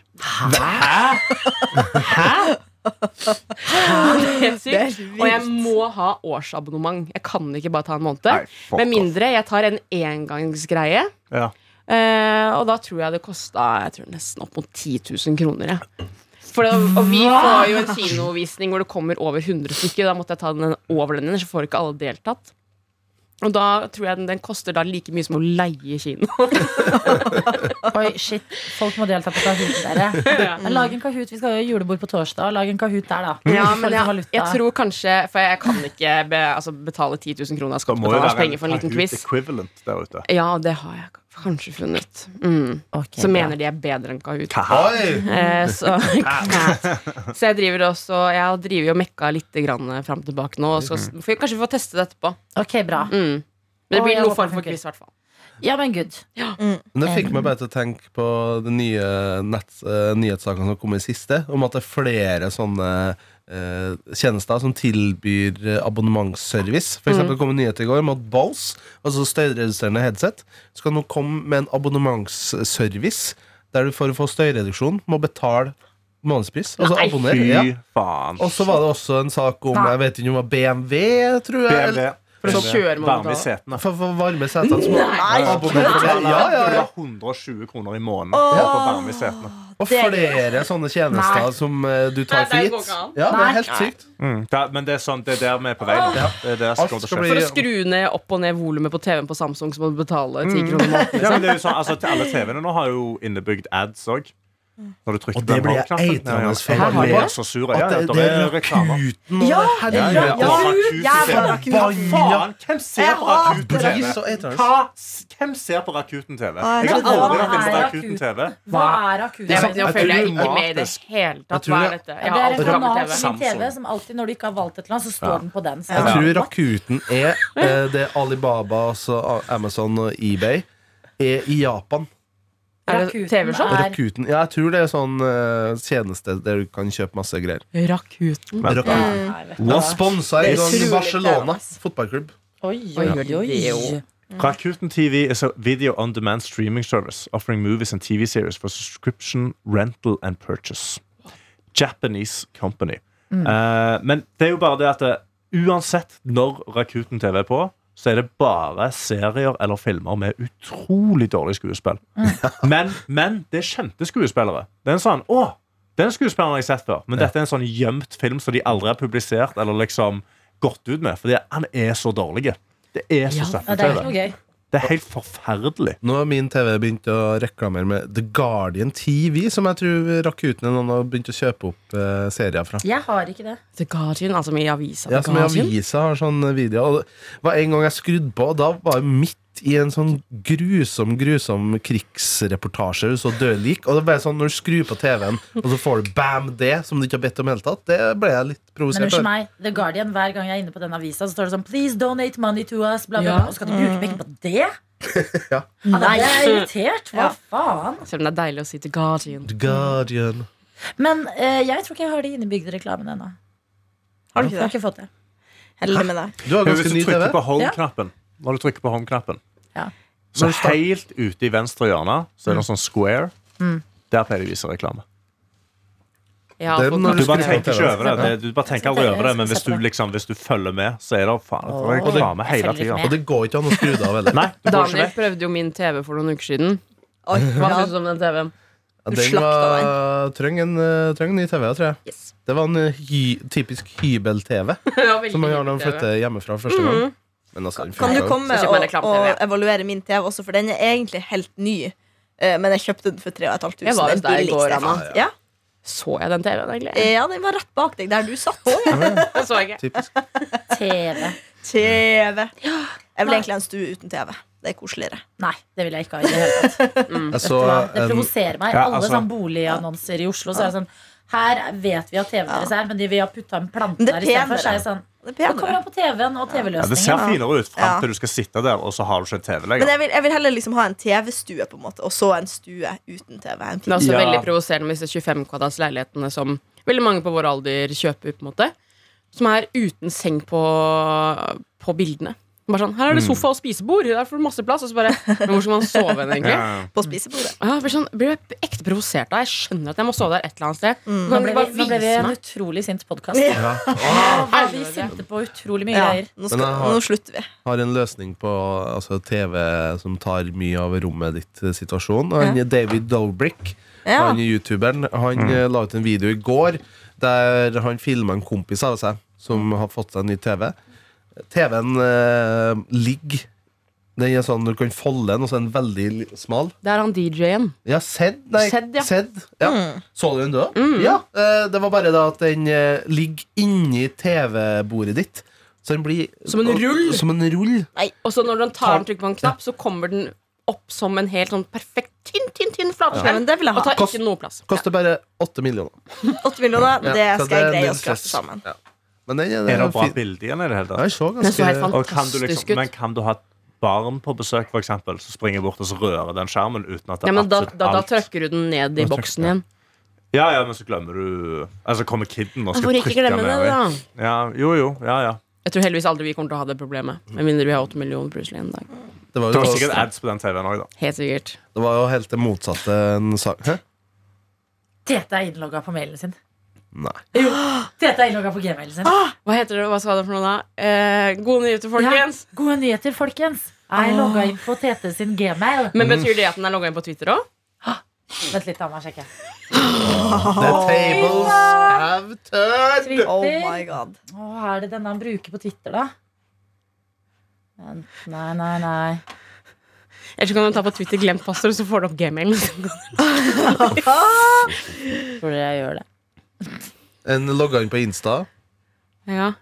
Speaker 5: Hæ?! Hæ? Det er helt sykt.
Speaker 3: Det er vilt.
Speaker 5: Og jeg må ha årsabonnement. Jeg kan ikke bare ta en måned.
Speaker 6: Nei, fuck
Speaker 5: Med
Speaker 6: off.
Speaker 5: mindre jeg tar en engangsgreie.
Speaker 6: Ja.
Speaker 5: eh, og da tror jeg det kosta jeg tror nesten opp mot 10 000 kroner. Jeg. For det, og vi får jo en kinovisning hvor det kommer over 100 stykker. Da måtte jeg ta den over den, ellers får ikke alle deltatt. Og da tror jeg den, den koster da like mye som å leie kino.
Speaker 2: Oi, shit. Folk må delta på Kahoot, dere. Men lag en Kahoot. Vi skal jo ha julebord på torsdag. Lag en Kahoot der, da.
Speaker 5: Ja,
Speaker 2: Folk
Speaker 5: men
Speaker 2: har
Speaker 5: jeg,
Speaker 2: valuta.
Speaker 5: jeg tror kanskje For jeg kan ikke be, altså, betale 10 000 kroner av
Speaker 6: Det må jo
Speaker 5: skattebetalernes
Speaker 6: være en
Speaker 5: penger for en liten
Speaker 6: Kahoot
Speaker 5: quiz.
Speaker 6: equivalent der ute.
Speaker 5: Ja, det har jeg k- kanskje funnet. Mm.
Speaker 2: Ok,
Speaker 5: Som
Speaker 2: bra.
Speaker 5: mener de er bedre enn Kahoot.
Speaker 4: Oi!
Speaker 5: Eh, så, så jeg driver også Jeg driver jo og mekka litt grann eh, fram og tilbake nå. og Skal, s- får- kanskje vi får teste det etterpå.
Speaker 2: Ok, bra.
Speaker 5: Mm. Men det
Speaker 2: Å,
Speaker 5: blir
Speaker 2: jeg
Speaker 5: noen
Speaker 2: håper
Speaker 5: form for
Speaker 2: det
Speaker 5: quiz, i hvert fall.
Speaker 2: Ja, men good.
Speaker 4: Men Det fikk meg bare til å tenke på de nye nett, eh, nyhetssakene som kom i siste, om at det er flere sånne eh, tjenester som tilbyr eh, abonnementsservice. For eksempel kom en nyhet i går om at Bose, altså støyreduserende headset, skal nå komme med en abonnementsservice der du for å få støyreduksjon må betale månedspris. Altså
Speaker 5: Nei.
Speaker 4: abonner. Ja.
Speaker 6: Fy faen.
Speaker 4: Og så var det også en sak om jeg vet ikke om det var BMW, tror jeg.
Speaker 6: BMW.
Speaker 5: For å kjøre må
Speaker 6: Varme i
Speaker 5: betale.
Speaker 6: setene.
Speaker 4: For, for varme setene. som-
Speaker 3: Nei,
Speaker 4: Abonner for det. Ja, ja, ja.
Speaker 6: Det var 120 kroner i måneden for varme i setene.
Speaker 4: Og flere sånne tjenester
Speaker 2: Nei.
Speaker 4: som eh, du tar
Speaker 5: Nei,
Speaker 4: for
Speaker 5: det
Speaker 4: gitt.
Speaker 5: går ikke an.
Speaker 4: Ja, det er helt
Speaker 5: Nei.
Speaker 4: sykt.
Speaker 6: Da, men det er sånn, det er der vi er på vei nå. Det er der som
Speaker 4: Alt
Speaker 6: kommer til
Speaker 4: skal
Speaker 6: å
Speaker 4: bli-
Speaker 6: skje.
Speaker 5: For å skru ned opp og ned volumet på TV-en på Samsung, så må du betale 10 kroner i måneden.
Speaker 6: Ja, men det er jo sånn, altså, til alle TV-ene nå har jo innebygd ads òg. Når du trykker
Speaker 4: Og det
Speaker 6: den
Speaker 4: blir jeg
Speaker 6: home-knappen.
Speaker 4: eitrende for.
Speaker 6: Ja, ja.
Speaker 5: Har
Speaker 6: Alle
Speaker 5: de
Speaker 6: blir
Speaker 5: det?
Speaker 6: så sure. Ja,
Speaker 4: At
Speaker 6: ja,
Speaker 4: det,
Speaker 6: der
Speaker 4: det
Speaker 6: er
Speaker 4: er
Speaker 6: reklamer.
Speaker 4: Rakuten og
Speaker 3: Ja,
Speaker 4: det
Speaker 6: Ja,
Speaker 4: her
Speaker 6: ja, ja.
Speaker 4: Og
Speaker 6: Rakuten
Speaker 3: Jævla
Speaker 6: TV.
Speaker 3: Rakuten.
Speaker 6: Faen, hvem ser på Rakuten
Speaker 4: det
Speaker 6: TV?
Speaker 4: blir så eitrende.
Speaker 6: Hva, hvem ser på Rakuten
Speaker 3: Å, jeg
Speaker 6: TV? Jeg har
Speaker 3: trodde det
Speaker 6: aldri
Speaker 3: var-
Speaker 6: vært inne på
Speaker 2: Nei,
Speaker 6: Rakuten TV.
Speaker 2: Hva er Akuta?
Speaker 5: Jeg
Speaker 2: Det
Speaker 4: Jeg
Speaker 5: vet, nå følger jeg
Speaker 4: tror det er
Speaker 5: ikke med i det
Speaker 6: gratis.
Speaker 5: hele tatt.
Speaker 4: Jeg
Speaker 5: Hva
Speaker 4: tror
Speaker 5: er
Speaker 4: det-
Speaker 5: dette?
Speaker 2: er
Speaker 5: Jeg har
Speaker 2: et
Speaker 5: alltid
Speaker 6: fra
Speaker 2: kanal på
Speaker 5: gammel TV.
Speaker 2: min TV
Speaker 6: Samsung.
Speaker 2: som alltid, når du ikke har valgt et eller annet, så står den på den. Så
Speaker 4: Jeg
Speaker 2: jeg-
Speaker 4: tror Rakuten er eh, det Alibaba, altså Amazon og eBay, er i Japan.
Speaker 5: Er det
Speaker 2: Rakuten
Speaker 5: TV-show?
Speaker 2: er-
Speaker 4: Rakuten, ja, jeg tror det er sånn eh, tjeneste der du kan kjøpe masse greier. Rakuten.
Speaker 5: Rakuten.
Speaker 2: Nei, vet du
Speaker 4: De
Speaker 2: hva.
Speaker 4: sponsa en gang
Speaker 3: Utrolig
Speaker 4: Barcelona
Speaker 3: spennende.
Speaker 4: fotballklubb.
Speaker 2: Oi,
Speaker 5: Oi,
Speaker 2: oi,
Speaker 5: gjør de det
Speaker 2: oi.
Speaker 5: jo?
Speaker 6: Rakuten TV is a video on demand streaming service offering movies and TV series for subscription, rental and purchase. Japanese company.
Speaker 2: Mm.
Speaker 6: Eh, men det er jo bare det at eh, uansett når Rakuten TV er på, så er det bare serier eller filmer med utrolig dårlig skuespill.
Speaker 2: Mm.
Speaker 6: men, men det er kjente skuespillere. Det er en sånn Å, den skuespilleren har jeg sett før. Men dette er en sånn gjemt film som de aldri har publisert eller liksom gått ut med. Fordi han er så dårlig. Det er så
Speaker 2: Ja,
Speaker 6: settete.
Speaker 2: det er ikke noe gøy.
Speaker 6: Det er helt forferdelig.
Speaker 4: Nå har min TV begynt å reklamere med The Guardian TV, som jeg tror Rakuten er noen har begynt å kjøpe opp eh, serier fra.
Speaker 2: Jeg har ikke det.
Speaker 5: The Guardian, altså med avisa
Speaker 4: Ja,
Speaker 5: The
Speaker 4: som i
Speaker 5: Guardian.
Speaker 4: avisa har sånn video. Og det var en gang jeg skrudde på, og da var jeg midt i en sånn grusom grusom krigsreportasje. Du så døde lik. Og det ble sånn når du skrur på TV-en, og så får du bam det, som du ikke har bedt om i det hele tatt. Det ble jeg litt
Speaker 2: Men
Speaker 4: provosert
Speaker 2: unnskyld
Speaker 4: av.
Speaker 2: meg, The Guardian, hver gang jeg er inne på den avisa, så står det sånn Please donate money to us, bla, bla,
Speaker 5: Ja.
Speaker 2: bla. Og skal du bruke penger på det?
Speaker 4: Ja.
Speaker 2: Nei, jeg er irritert. Hva
Speaker 3: Ja.
Speaker 2: faen?
Speaker 5: Selv om det er deilig å si The Guardian.
Speaker 4: The Guardian.
Speaker 2: Men eh, jeg tror ikke jeg har de innebygde reklamene ennå.
Speaker 3: Har du
Speaker 2: Jeg har
Speaker 3: ikke det?
Speaker 2: ikke fått det.
Speaker 3: Heldig med deg.
Speaker 4: Du har
Speaker 6: Men hvis
Speaker 4: ganske
Speaker 6: du
Speaker 4: ny TV.
Speaker 6: trykker på home-knappen Når du trykker på home-knappen
Speaker 2: Ja.
Speaker 6: Så
Speaker 4: Når du start-
Speaker 6: helt ute i venstre hjørne Så er det noe sånn square Der pleier de å vise reklame
Speaker 5: Ja,
Speaker 4: Den
Speaker 5: folk-
Speaker 4: har
Speaker 6: Du bare tenker ikke over det. det. Du bare tenker aldri over det Men hvis du, liksom, hvis du følger med, så er det faen jeg får faen med hele tida.
Speaker 4: Og det går ikke an å skru det av. Eller?
Speaker 6: Nei, du får ikke
Speaker 5: Daniel
Speaker 6: med.
Speaker 5: prøvde jo min TV for noen uker siden.
Speaker 3: Oi,
Speaker 5: Hva
Speaker 3: ja.
Speaker 5: synes du om den TV-en?
Speaker 4: Ja,
Speaker 3: Du
Speaker 4: Den
Speaker 3: slakta
Speaker 4: var, trenger en, eh, trenger en ny TV, tror jeg.
Speaker 5: Yes.
Speaker 4: Det var en eh, hy, typisk hybel-TV
Speaker 5: Ja, veldig
Speaker 4: som man gjør når
Speaker 5: hyggelig
Speaker 4: man
Speaker 5: TV.
Speaker 4: flytter hjemmefra første
Speaker 2: Mm.
Speaker 4: gang. Men altså, den
Speaker 3: Kan du
Speaker 4: funker jo.
Speaker 3: komme
Speaker 5: Så kjøper man
Speaker 3: og,
Speaker 5: reklame-TV, ja.
Speaker 3: og evaluere min TV også, for den er egentlig helt ny. Eh, Men jeg kjøpte den for 3500.
Speaker 5: Jeg var hos
Speaker 3: Den
Speaker 5: deg i går,
Speaker 3: billigste.
Speaker 5: Anna.
Speaker 3: Ja,
Speaker 5: Så jeg den TV-en, egentlig?
Speaker 3: ja, den var rett bak deg, der du satt.
Speaker 5: Det så jeg ikke.
Speaker 4: Typisk.
Speaker 2: TV.
Speaker 3: TV. Jeg vil
Speaker 2: Nei.
Speaker 3: egentlig ha en stue uten TV. Det er koseligere.
Speaker 2: Nei, det vil jeg ikke ha i det hele tatt.
Speaker 4: Jeg
Speaker 2: Vet
Speaker 4: så
Speaker 2: du hva? Det
Speaker 4: en
Speaker 2: provoserer meg.
Speaker 6: Ja,
Speaker 2: Alle
Speaker 6: altså-
Speaker 2: sånn boligannonser i Oslo, så er det sånn Her vet vi at TV-en deres er, men de vil ha putta en plante
Speaker 3: Men det er
Speaker 2: der istedenfor. Så er jeg sånn
Speaker 3: Det er
Speaker 2: Da kommer
Speaker 3: penere.
Speaker 2: han på TV-en og
Speaker 6: Ja, det ser
Speaker 2: TV-løsningen.
Speaker 6: finere ut fram
Speaker 3: Ja.
Speaker 6: til du skal sitte der, og så har du ikke en TV
Speaker 3: Men
Speaker 6: lenger.
Speaker 3: jeg vil, jeg vil heller liksom ha en TV-stue, på en måte, og så en stue uten TV. En
Speaker 5: Det
Speaker 3: fin-
Speaker 5: er også
Speaker 6: Ja.
Speaker 5: veldig provoserende med disse 25 kvadrats leilighetene som veldig mange på vår alder kjøper, på en måte. Som er uten seng på, på bildene. Bare sånn,
Speaker 6: Mm.
Speaker 5: Her er det sofa og spisebord, der får du masse plass. Og så bare Men hvor skal man sove hen, egentlig?
Speaker 6: Ja.
Speaker 3: På spisebordet.
Speaker 5: Ja, jeg blir, sånn, blir jeg ekte provosert av. Jeg skjønner at jeg må sove der et eller annet sted.
Speaker 3: Mm.
Speaker 2: Nå
Speaker 5: Du kan
Speaker 2: ble
Speaker 5: ikke
Speaker 2: vi,
Speaker 5: bare
Speaker 2: nå ble vi
Speaker 5: vise
Speaker 2: en
Speaker 5: meg.
Speaker 2: utrolig sint podkast.
Speaker 4: ja,
Speaker 2: Vi sinte på utrolig mye
Speaker 3: Ja,
Speaker 2: greier.
Speaker 3: nå, skal,
Speaker 4: Men jeg har-
Speaker 3: nå slutter vi.
Speaker 4: har en løsning på altså, TV som tar mye av rommet ditt eh, situasjon. Han, David Dolbrick,
Speaker 3: Ja.
Speaker 4: han youtuberen, han eh, la ut en video i går der han filma en kompis av seg som
Speaker 5: Mm.
Speaker 4: har fått seg en ny TV. TV-en eh, ligger Den er sånn du kan folde den, og så er den veldig li- smal.
Speaker 5: Det er han DJ-en.
Speaker 4: Ja, sedd. Nei,
Speaker 5: Sedd, ja. Mm.
Speaker 4: sedd, ja. Så du den da? Ja. eh, Det var bare da at den eh, ligger inni TV-bordet ditt. Så den blir
Speaker 5: Som en rull?
Speaker 4: Som en rull.
Speaker 5: Og så når du
Speaker 4: Tar-
Speaker 5: tar den trykker på en knapp, så kommer den opp som en helt sånn perfekt tynn, tynn, tynn
Speaker 3: Ja,
Speaker 5: flatskjerm.
Speaker 3: men det vil jeg
Speaker 5: Og
Speaker 3: ha.
Speaker 5: tar ikke noe plass.
Speaker 4: Koster bare åtte millioner.
Speaker 3: 8 millioner,
Speaker 4: Ja,
Speaker 3: det
Speaker 4: så
Speaker 3: skal jeg
Speaker 4: er
Speaker 3: greie
Speaker 4: null
Speaker 3: å skrape
Speaker 4: stress.
Speaker 3: sammen.
Speaker 4: Ja. Men den er,
Speaker 6: Er det bra
Speaker 4: fin-
Speaker 6: bilde igjen i det
Speaker 4: Den
Speaker 6: hele tatt?
Speaker 4: er så
Speaker 5: Den så helt
Speaker 4: ganske
Speaker 5: fantastisk
Speaker 6: Og kan du liksom,
Speaker 5: ut.
Speaker 6: men kan du ha et barn på besøk, for eksempel, så springer jeg bort og så rører den skjermen uten at
Speaker 5: Ja,
Speaker 6: det er
Speaker 5: men da,
Speaker 6: absolutt
Speaker 5: da, da
Speaker 6: alt.
Speaker 5: trykker du den ned
Speaker 4: Da
Speaker 5: i
Speaker 4: trykker
Speaker 5: boksen igjen.
Speaker 6: Ja, ja, men så glemmer du Altså kommer kiden og skal
Speaker 5: Hvorfor ikke
Speaker 6: trykke
Speaker 5: glemme det,
Speaker 6: ned i.
Speaker 5: da?
Speaker 6: Ja, jo, jo, ja, ja.
Speaker 5: Jeg tror heldigvis aldri vi kommer til å ha det problemet. Med mindre vi har 8 millioner plutselig en dag.
Speaker 4: Det var
Speaker 6: Det
Speaker 4: jo, sånn-
Speaker 6: var sikkert ads på den TV-en òg, da.
Speaker 5: Helt sikkert.
Speaker 4: det var jo helt det motsatte en sak. Hæ?
Speaker 2: Tete er innlogga på mailen sin.
Speaker 4: Nei.
Speaker 2: Tete er innlogga på gmailen sin.
Speaker 3: Ah,
Speaker 5: Hva heter det? Hva sa du for noe da? Eh, gode nyheter, folkens!
Speaker 2: Ja, gode nyheter, folkens.
Speaker 3: Ah.
Speaker 2: Jeg logga inn på Tete sin gmail.
Speaker 5: Men betyr det at den er logga inn på Twitter òg?
Speaker 2: Vent litt, Anna. Sjekke.
Speaker 4: The tables have turned!
Speaker 2: Twitter.
Speaker 3: Oh my god.
Speaker 2: Å, er det denne han bruker på Twitter, da? Vent, Nei, nei, nei.
Speaker 5: Eller så kan du ta på Twitter 'glemt passord', så får du opp gmailen.
Speaker 2: Tror dere jeg gjør det?
Speaker 4: En logga inn på Insta.
Speaker 5: Ja.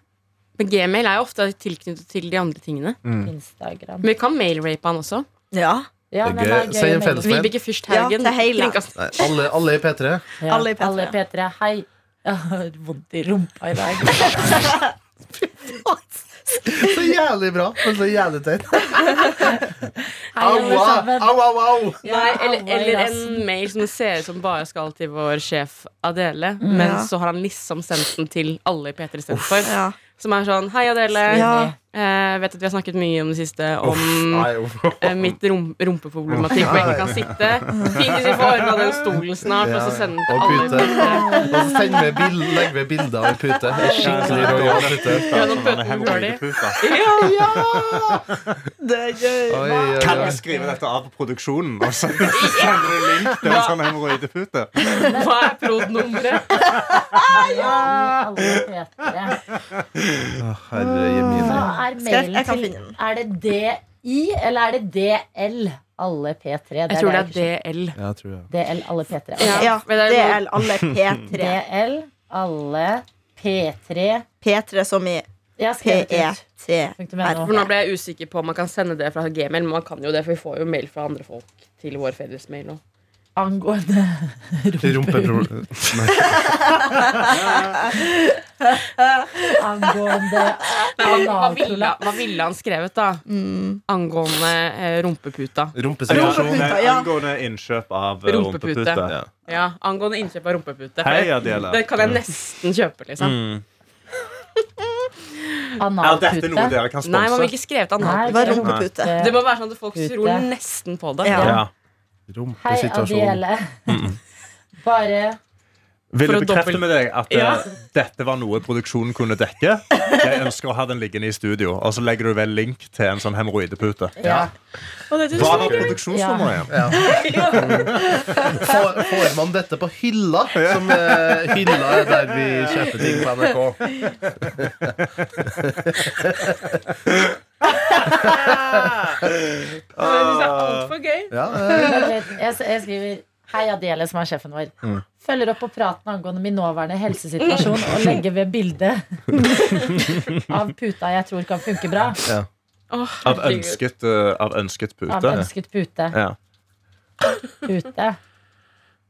Speaker 5: Men gmail er jo ofte tilknyttet til de andre tingene.
Speaker 2: Instagram.
Speaker 5: Men vi kan mailrape han også.
Speaker 3: Ja.
Speaker 2: Ja, den
Speaker 4: Det er gøy.
Speaker 2: er gøy
Speaker 4: Send en
Speaker 2: å
Speaker 4: felles-
Speaker 2: melde.
Speaker 5: Vibeke Fyrsthagen.
Speaker 3: Ja, til hele.
Speaker 5: kringkast-
Speaker 4: Nei, alle, alle i P3.
Speaker 2: Ja,
Speaker 3: Alle i P3.
Speaker 2: Alle i P3. Hei. Jeg har vondt i rumpa i dag.
Speaker 4: Så jævlig bra, men så jævlig teit.
Speaker 2: Hei,
Speaker 4: Au,
Speaker 2: alle sammen.
Speaker 4: au, au, au!
Speaker 2: Ja,
Speaker 5: Nei, eller,
Speaker 2: alle i
Speaker 5: eller
Speaker 2: rassen.
Speaker 5: en mail som det ser ut som bare skal til vår sjef Adele,
Speaker 3: Ja.
Speaker 5: men så har han liksom sendt den til alle i P3 istedenfor.
Speaker 3: Ja.
Speaker 5: Som er sånn Hei, Adele.
Speaker 3: Ja.
Speaker 5: Eh, vet at vi har snakket mye om det siste om
Speaker 4: Nei, uff.
Speaker 5: eh, mitt rom rumpeproblematikk hvor jeg ikke kan sitte. Fingers i forhånd av den stolen snart, og så sende den til
Speaker 4: Og
Speaker 5: alle.
Speaker 4: pute. Og så sender vi bild, legger vi bilder av en pute. En Skikkelig rojal pute.
Speaker 5: Ja, nå pøter vi hull i.
Speaker 6: Kan
Speaker 3: Det er gøy.
Speaker 4: Oi, oi, oi.
Speaker 6: jeg skrive dette av på produksjonen? Og så sender du link til en sånn hemoroidepute?
Speaker 5: Hva er prod-nummeret?
Speaker 2: Alle i P3. Hva
Speaker 4: Herre
Speaker 2: er
Speaker 4: mine.
Speaker 3: Skal jeg-
Speaker 2: mailen
Speaker 3: jeg kan
Speaker 2: til?
Speaker 3: finne den.
Speaker 2: Er det DI, eller er det DL? Alle P3.
Speaker 5: Jeg tror det er DL.
Speaker 4: Ja, jeg tror jeg.
Speaker 2: DL, alle P3.
Speaker 5: Ja.
Speaker 3: Ja,
Speaker 5: men det er
Speaker 3: DL, alle P3.
Speaker 2: DL, alle P3.
Speaker 3: P3 som i
Speaker 2: Jeg har skrevet
Speaker 3: E.
Speaker 2: ut.
Speaker 3: P-E-T-R.
Speaker 2: Punktum NO.
Speaker 5: For nå ble jeg usikker på om man kan sende det fra Gmail, men man kan jo det, for vi får jo mail fra andre folk til vår felles mail nå.
Speaker 2: Angående
Speaker 4: Rumpeproblem.
Speaker 2: Angående
Speaker 5: Hva
Speaker 2: analprolaps.
Speaker 5: ville, hva ville han skrevet, da? Mm. Angående eh, rumpeputa.
Speaker 4: Rumpesituasjon.
Speaker 6: Nei,
Speaker 3: ja.
Speaker 6: sånn, eh, Angående innkjøp av eh,
Speaker 5: Rumpepute.
Speaker 6: rumpepute.
Speaker 4: Ja.
Speaker 5: Ja, angående innkjøp av rumpepute. For
Speaker 6: Hei,
Speaker 5: det,
Speaker 6: Adele.
Speaker 5: det kan jeg nesten kjøpe,
Speaker 4: Mm.
Speaker 5: liksom.
Speaker 6: Er dette noe
Speaker 2: Analpute.
Speaker 6: dere kan
Speaker 5: Nei, man
Speaker 6: sponse?
Speaker 5: vil ikke skrevet
Speaker 2: Nei,
Speaker 3: Det
Speaker 5: annet.
Speaker 3: var rumpepute.
Speaker 5: Det må være sånn at folk tror
Speaker 2: Pute.
Speaker 5: nesten på det.
Speaker 3: Ja.
Speaker 6: Ja.
Speaker 2: Hei,
Speaker 4: Rumpesituasjon.
Speaker 2: Adele. Bare
Speaker 6: Vil
Speaker 5: For
Speaker 6: jeg
Speaker 5: å
Speaker 6: bekrefte
Speaker 5: dobbelt-
Speaker 6: med deg at eh,
Speaker 5: Ja.
Speaker 6: dette var noe produksjonen kunne dekke? Jeg ønsker å ha den liggende i studio. Og så legger du vel link til en sånn hemoroidepute.
Speaker 2: Ja.
Speaker 5: Og det er
Speaker 6: Hva
Speaker 5: tusen
Speaker 6: var
Speaker 5: takk.
Speaker 6: produksjonsnummeret igjen?
Speaker 4: Får, får man dette på hylla? Som eh, hylla er der vi kjøper ting på NRK.
Speaker 5: Det synes jeg er altfor gøy.
Speaker 4: Ja, eh,
Speaker 2: Jeg, jeg skriver Hei, Adele, som er sjefen vår. Følger opp på praten angående min nåværende helsesituasjon og legger ved bildet av puta jeg tror kan funke bra.
Speaker 5: Å,
Speaker 6: Av
Speaker 5: herregud.
Speaker 6: ønsket, eh, av ønsket
Speaker 2: Av
Speaker 6: pute.
Speaker 2: ønsket pute.
Speaker 6: Ja.
Speaker 2: Pute.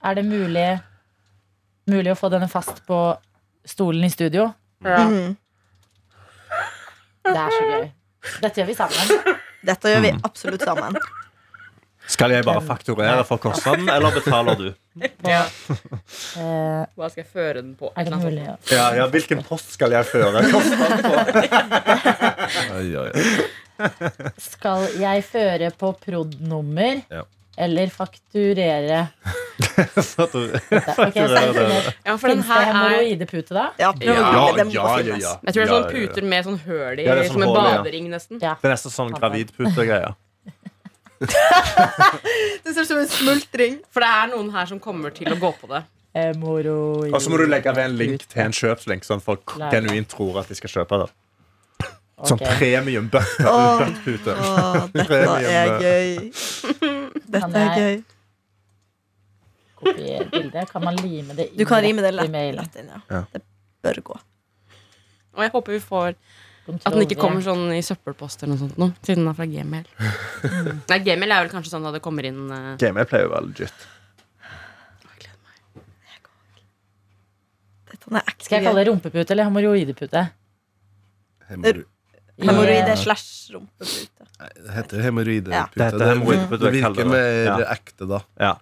Speaker 2: Er det mulig Mulig å få denne fast på stolen i studio?
Speaker 5: Ja.
Speaker 2: Det er så gøy. Dette gjør vi sammen.
Speaker 3: Dette gjør vi absolutt sammen.
Speaker 6: Skal jeg bare fakturere for kostnaden, eller betaler du?
Speaker 5: Ja.
Speaker 2: Eh,
Speaker 5: Hva skal jeg føre den på?
Speaker 2: er det mulig? å-
Speaker 6: Ja, ja, Hvilken post skal jeg føre? Kostnaden på?
Speaker 4: oi, oi.
Speaker 2: Skal jeg føre på prod.nummer
Speaker 4: Ja.
Speaker 2: eller fakturere?
Speaker 6: Så at du-
Speaker 2: Ok, så er det ned.
Speaker 5: Ja, for den
Speaker 2: Finnes det
Speaker 5: her er
Speaker 2: hemoroidepute, da?
Speaker 3: Ja, det må finnes.
Speaker 5: jeg tror det er
Speaker 6: Ja,
Speaker 5: sånn
Speaker 6: ja, ja.
Speaker 5: puter med sånn høl i,
Speaker 6: Ja, det er
Speaker 5: som
Speaker 6: sånn
Speaker 5: en
Speaker 6: hull i, ja.
Speaker 5: badering nesten.
Speaker 2: Ja.
Speaker 6: Det er nesten sånn gravidpute-greier.
Speaker 3: Det ser ut som en smultring.
Speaker 5: For det er noen her som kommer til å gå på det.
Speaker 2: Hemoroid.
Speaker 6: Og så må du legge ved en link til en kjøpslink, sånn folk genuint tror at de skal kjøpe det. Sånn
Speaker 2: Ok.
Speaker 6: premium butt-
Speaker 3: Åh.
Speaker 6: buttpute.
Speaker 3: Å, dette er gøy. Dette er gøy.
Speaker 2: kopier bildet. Kan man lime det inn
Speaker 3: Du kan rime det
Speaker 2: rett i
Speaker 3: lett,
Speaker 2: mailen?
Speaker 3: lett inn, ja.
Speaker 6: Ja.
Speaker 3: Det bør gå.
Speaker 5: Og jeg håper vi får
Speaker 2: Kontroll
Speaker 5: at den ikke
Speaker 2: V.
Speaker 5: kommer sånn i søppelpost eller noe sånt nå, siden den er fra Gmail. Nei, Gmail er vel kanskje sånn at det kommer inn eh,
Speaker 6: Gmail pleier å være legit.
Speaker 3: Dette er ekte
Speaker 2: Skal jeg kalle det rumpepute eller hemoroidepute?
Speaker 4: Hemorro-
Speaker 2: I-
Speaker 3: Hemoroide slash rumpepute.
Speaker 4: Det heter hemoroidepute.
Speaker 6: Ja.
Speaker 4: Det, det
Speaker 6: Hemoroidepute, kaller
Speaker 4: virker
Speaker 6: det.
Speaker 4: mer
Speaker 6: Ja.
Speaker 4: ekte da.
Speaker 6: Ja.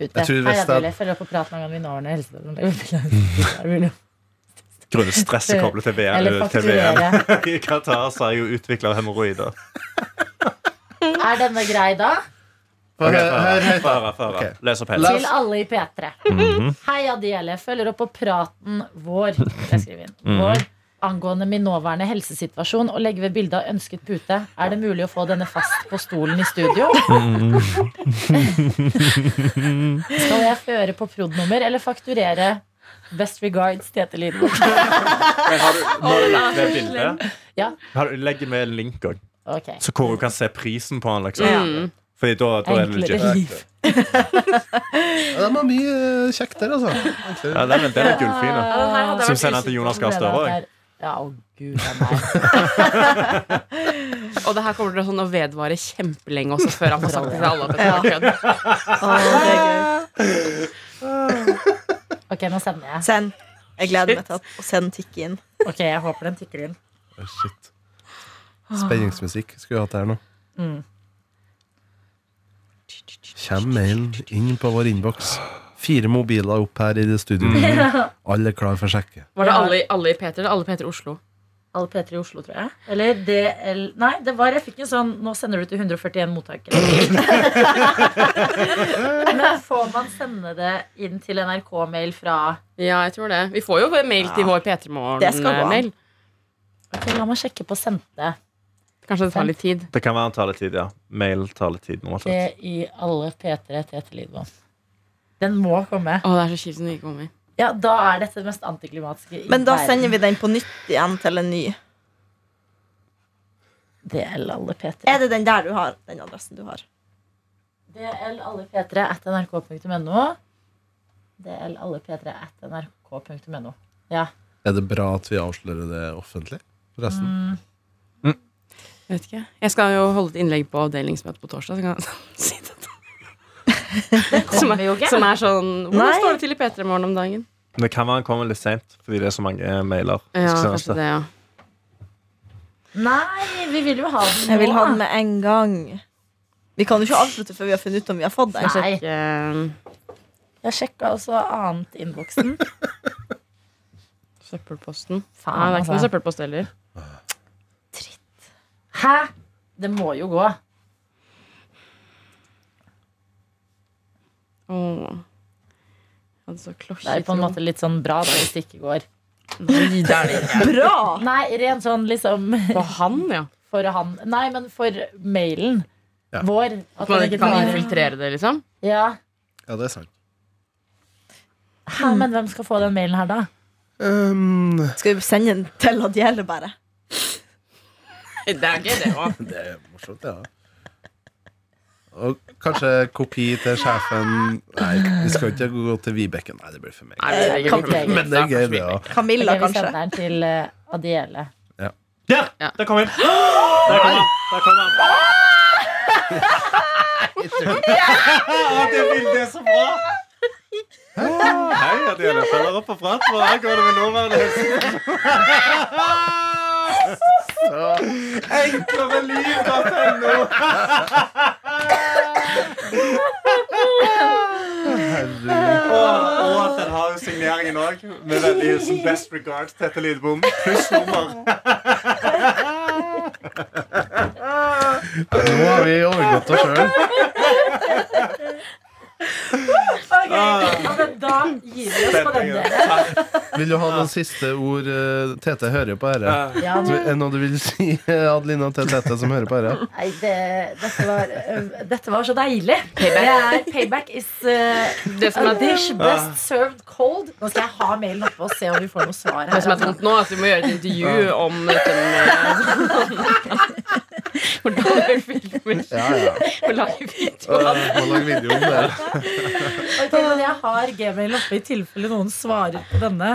Speaker 2: Pute.
Speaker 4: Jeg tror
Speaker 2: Hei,
Speaker 4: hvis det-
Speaker 2: Adele. Følger opp på praten om gangen vi når ned helsedelen.
Speaker 6: Grunnet stresset koblet til VM.
Speaker 2: Eller
Speaker 6: til VM.
Speaker 2: fakturere.
Speaker 6: I Qatar så er jeg jo utvikla hemoroider.
Speaker 2: Er denne grei, da?
Speaker 4: Hør, hør, hør.
Speaker 6: Fara, fara.
Speaker 4: Ok.
Speaker 6: Les opp
Speaker 4: La
Speaker 6: hele.
Speaker 4: oss-
Speaker 2: Til alle i P3.
Speaker 6: Mhm.
Speaker 2: Hei, Adiele. Følger opp på praten vår. Jeg skriver inn.
Speaker 6: Mhm.
Speaker 2: Vår angående min nåværende helsesituasjon og legger ved bilde av ønsket pute. Er det mulig å få denne fast på stolen i studio?
Speaker 6: Mhm.
Speaker 2: Skal jeg føre på prod.nummer eller fakturere? Best regards, Tete Lidbom.
Speaker 6: Men har du, nå har du
Speaker 5: Ah,
Speaker 6: lagt ved bildet.
Speaker 2: Ja.
Speaker 6: Har du, legg med en link òg,
Speaker 2: Ok.
Speaker 6: så hvor du kan se prisen på den.
Speaker 5: Ja.
Speaker 6: liksom.
Speaker 2: Mm.
Speaker 6: Fordi da, da er det legit.
Speaker 2: Enklere liv.
Speaker 4: Ja, de har mye eh, kjekt der, altså.
Speaker 6: Ja, det er en del av
Speaker 5: den her
Speaker 6: gullfine.
Speaker 5: hadde
Speaker 6: Som
Speaker 5: vært
Speaker 6: sender den til Jonas Gahr Støre òg.
Speaker 2: Ja, å gud a meg.
Speaker 5: usikker. Og det her kommer til å sånn å vedvare kjempelenge også, før han får sagt til alle at det
Speaker 3: Ja.
Speaker 5: var kødd.
Speaker 3: Å, det er gøy.
Speaker 2: Ok, nå sender jeg.
Speaker 3: Send. Jeg gleder meg til at- å sende tikk inn.
Speaker 2: Ok, Jeg håper den tikker inn.
Speaker 4: Å, Shit. Spenningsmusikk skulle vi hatt her nå.
Speaker 6: Mm.
Speaker 4: Kjem mailen inn på vår innboks. Fire mobiler opp her i det
Speaker 6: Mm.
Speaker 4: studioet. Alle er klar for å sjekke.
Speaker 5: Var det alle, i- alle i Peter eller alle Peter Oslo?
Speaker 2: Alle P3 i Oslo, tror jeg. Eller DL Nei, det var, jeg fikk en sånn Nå sender du til 141 mottakere. Men får man sende det inn til NRK-mail fra
Speaker 5: Ja, jeg tror det. Vi får jo mail til vår
Speaker 3: Det
Speaker 5: eh,
Speaker 3: skal gå an.
Speaker 5: P3morgen-mail.
Speaker 2: Ok, La meg sjekke på sendte.
Speaker 5: Kanskje det tar litt tid.
Speaker 6: Det kan være en taletid, ja. Mail taletid. noe
Speaker 2: Det
Speaker 6: sånt.
Speaker 2: i alle P3 til Tete Lidbom. Den må komme.
Speaker 5: Å, det er så kjipt når det ikke kommer.
Speaker 2: Ja, da er dette det mest antiklimatiske i
Speaker 3: Men da
Speaker 2: verden.
Speaker 3: sender vi den på nytt igjen til en ny.
Speaker 2: DL alle P3.
Speaker 3: Er det den der du har? Den adressen du har?
Speaker 2: DL alle P3 at nrk.no. DL alle P3 at nrk.no. Ja.
Speaker 4: Er det bra at vi avslører det offentlig? Forresten.
Speaker 5: Jeg Vet ikke. Jeg skal jo holde et innlegg på avdelingsmøtet på torsdag. Så kan jeg si dette. Som er,
Speaker 2: kommer jo ikke.
Speaker 5: som er sånn Hvordan
Speaker 3: Nei.
Speaker 5: står det til i P3 Morgen om dagen?
Speaker 6: Men det kan være han kommer litt seint, fordi det er så mange eh, mailer.
Speaker 5: Ja,
Speaker 6: Skal
Speaker 5: kanskje
Speaker 6: sendes
Speaker 5: det, ja.
Speaker 2: Nei, vi vil jo ha den
Speaker 3: Jeg vil
Speaker 2: nå,
Speaker 3: ha
Speaker 2: da.
Speaker 3: den med en gang. Vi kan jo ikke avslutte før vi har funnet ut om vi har fått den.
Speaker 2: Nei.
Speaker 5: Sjekke
Speaker 2: Jeg sjekka også annet i innboksen.
Speaker 5: søppelposten.
Speaker 2: Faen,
Speaker 5: Nei, det er ikke noe
Speaker 2: altså.
Speaker 5: søppelpost heller.
Speaker 2: Hæ? Det må jo gå.
Speaker 5: Åh. Altså,
Speaker 2: Det er på en måte litt sånn bra da, hvis det ikke går.
Speaker 5: Nei, det er det ikke.
Speaker 3: Bra!
Speaker 2: Nei, rent sånn liksom
Speaker 5: På han, ja.
Speaker 2: for han Nei, men for mailen
Speaker 4: Ja.
Speaker 2: vår. At
Speaker 5: At man
Speaker 2: den
Speaker 5: ikke kan
Speaker 2: tar-
Speaker 5: infiltrere det, liksom.
Speaker 2: Ja.
Speaker 4: Ja, det er sant.
Speaker 2: Hæ, men hvem skal få den mailen her, da?
Speaker 4: Um,
Speaker 3: Skal vi sende den til Adjele, bare?
Speaker 5: Det er gøy, det òg.
Speaker 4: det er morsomt, ja. Og kanskje kopi til sjefen Nei, vi skal ikke gå til Vibeke. Nei, det blir for meg. Men det er gøy, det òg.
Speaker 3: Camilla,
Speaker 2: Ok, vi
Speaker 3: kanskje?
Speaker 2: sender den til eh, Adiele.
Speaker 6: Der!
Speaker 5: Ja.
Speaker 6: Der kom han. Der kom han. Der kom han. Å, det bildet er så bra! Hei, Adele. Følger opp og prater. Her går det med nåværende helse. Enklere liv, da,
Speaker 4: Herregud.
Speaker 6: Og, og at den har jo signeringen òg, med vennlig hilsen Best regards Tette Lidbom. Pluss nummer.
Speaker 4: Nå har vi overgått oss sjøl.
Speaker 2: Ah. Ja, men da gir vi oss på den delen.
Speaker 4: Vil du ha noen siste ord? eh, Tete hører på dette.
Speaker 2: Ja,
Speaker 4: Så Er det noe du vil si, Adelina, til Tete som hører på dette?
Speaker 2: nei, det, dette, var, øh, dette var så deilig. Payback, det er, payback is uh,
Speaker 5: Det som
Speaker 2: a
Speaker 5: er
Speaker 2: dish best served cold. Nå skal jeg ha mailen oppe og se om vi får noe svar her.
Speaker 5: Det som er tungt nå, er at vi må gjøre et intervju om dette med Hvordan vi filmer
Speaker 4: Ja, ja.
Speaker 5: og lager video.
Speaker 4: Eh, Må lage video om det.
Speaker 2: Ok, men jeg har gmailen oppe i tilfelle noen svarer på denne.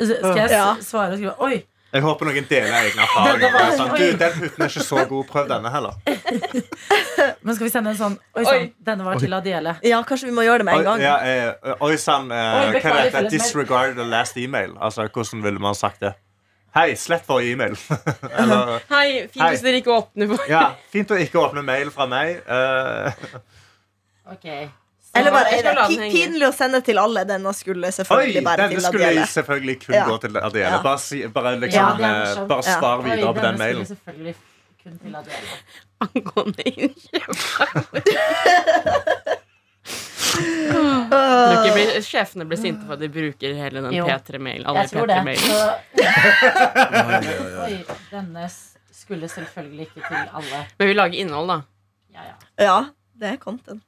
Speaker 2: S- Skal jeg s-
Speaker 3: Ja.
Speaker 2: svare og skrive Oi!
Speaker 6: Jeg håper noen deler egne erfaringer. Det er Sånn, du, den putten er ikke så god. Prøv denne heller.
Speaker 2: Men skal vi sende en sånn Oi
Speaker 5: Oi.
Speaker 2: sann, denne var til Adiele.
Speaker 3: Ja, kanskje vi må gjøre det med
Speaker 6: Oi,
Speaker 3: en gang.
Speaker 6: ja, eh, oi sann, eh,
Speaker 2: Oi, beklager,
Speaker 6: hva er dette?
Speaker 2: Philip, men-
Speaker 6: Disregard the last email. Altså, hvordan ville man sagt det? Hei, slett vår e-mail. Eller
Speaker 5: Hei, fint hvis dere ikke åpner for
Speaker 6: Ja, fint å ikke åpne mail fra meg. Eh,
Speaker 2: Ok.
Speaker 3: Eller bare
Speaker 5: Jeg
Speaker 3: er
Speaker 5: skal
Speaker 3: det
Speaker 5: la den
Speaker 3: pi-
Speaker 5: henge.
Speaker 3: pinlig å sende til alle. Denne skulle
Speaker 6: oi,
Speaker 3: selvfølgelig bare
Speaker 6: denne
Speaker 3: til
Speaker 6: skulle
Speaker 3: Adjele.
Speaker 6: jeg selvfølgelig kun
Speaker 3: Ja.
Speaker 6: gå til Adele.
Speaker 3: Ja.
Speaker 6: Bare, si, bare,
Speaker 2: Ja,
Speaker 6: liksom,
Speaker 2: det er
Speaker 6: eh,
Speaker 2: morsomt.
Speaker 6: bare svar
Speaker 2: Oi,
Speaker 6: videre på
Speaker 2: denne
Speaker 6: den
Speaker 2: skulle
Speaker 6: mailen.
Speaker 2: selvfølgelig kun til Adele.
Speaker 5: angående innkjøp.
Speaker 3: Øh,
Speaker 5: Tror ikke blir- Sjefene blir sinte for at de bruker hele den
Speaker 2: Jo.
Speaker 5: P3-mailen.
Speaker 2: Jeg tror det.
Speaker 5: P3-mailen.
Speaker 2: Så, oi, denne s- skulle selvfølgelig ikke til alle.
Speaker 5: Men vi lager innhold, da.
Speaker 2: Ja, ja.
Speaker 3: Ja, det er content.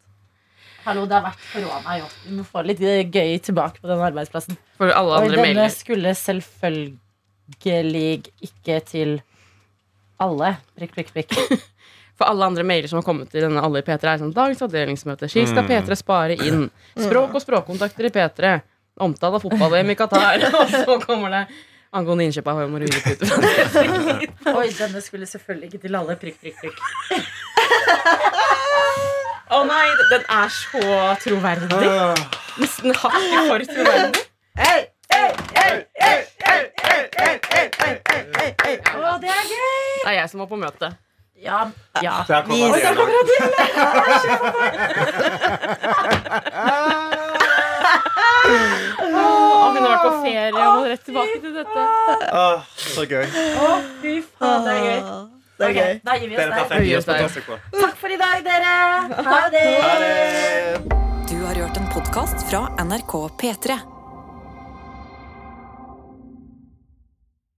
Speaker 2: Hallo, det har vært korona. Jo. Vi må få litt eh, gøy tilbake på den arbeidsplassen.
Speaker 5: For alle
Speaker 2: Oi,
Speaker 5: andre
Speaker 2: denne
Speaker 5: mailer.
Speaker 2: skulle selvfølgelig ikke til alle. Prikk, prikk, prikk.
Speaker 5: For alle andre mailer som har kommet til denne alle i P3, er sånn Dagens avdelingsmøte. Slik skal P3 spare inn. Språk og språkkontakter i P3. Omtale av fotball-VM i Qatar. Og så kommer det angående innkjøp av hemoroideputer.
Speaker 2: Oi, denne skulle selvfølgelig ikke til alle. Prikk, prikk, prikk.
Speaker 5: Å nei, den er så
Speaker 6: Ah.
Speaker 5: troverdig. Nesten hakket for troverdig.
Speaker 2: Å, det er gøy!
Speaker 5: Det er jeg som var på møte.
Speaker 2: Ja, ja.
Speaker 6: Der
Speaker 3: Vi- der
Speaker 6: kommer Adele.
Speaker 5: Og kunne vært på ferie og rett tilbake til dette.
Speaker 6: Åh, Ah, så gøy.
Speaker 2: Å, fy faen, det er gøy.
Speaker 3: Ah, Det er
Speaker 2: Ok,
Speaker 3: gøy.
Speaker 2: da gir vi
Speaker 6: Det er
Speaker 2: oss der.
Speaker 6: perfekt. Gi oss
Speaker 5: Høyest der.
Speaker 6: fantastisk bra.
Speaker 2: Takk for i dag, dere. Ha det.
Speaker 6: Ha det.
Speaker 1: Du har hørt en podkast fra NRK P3.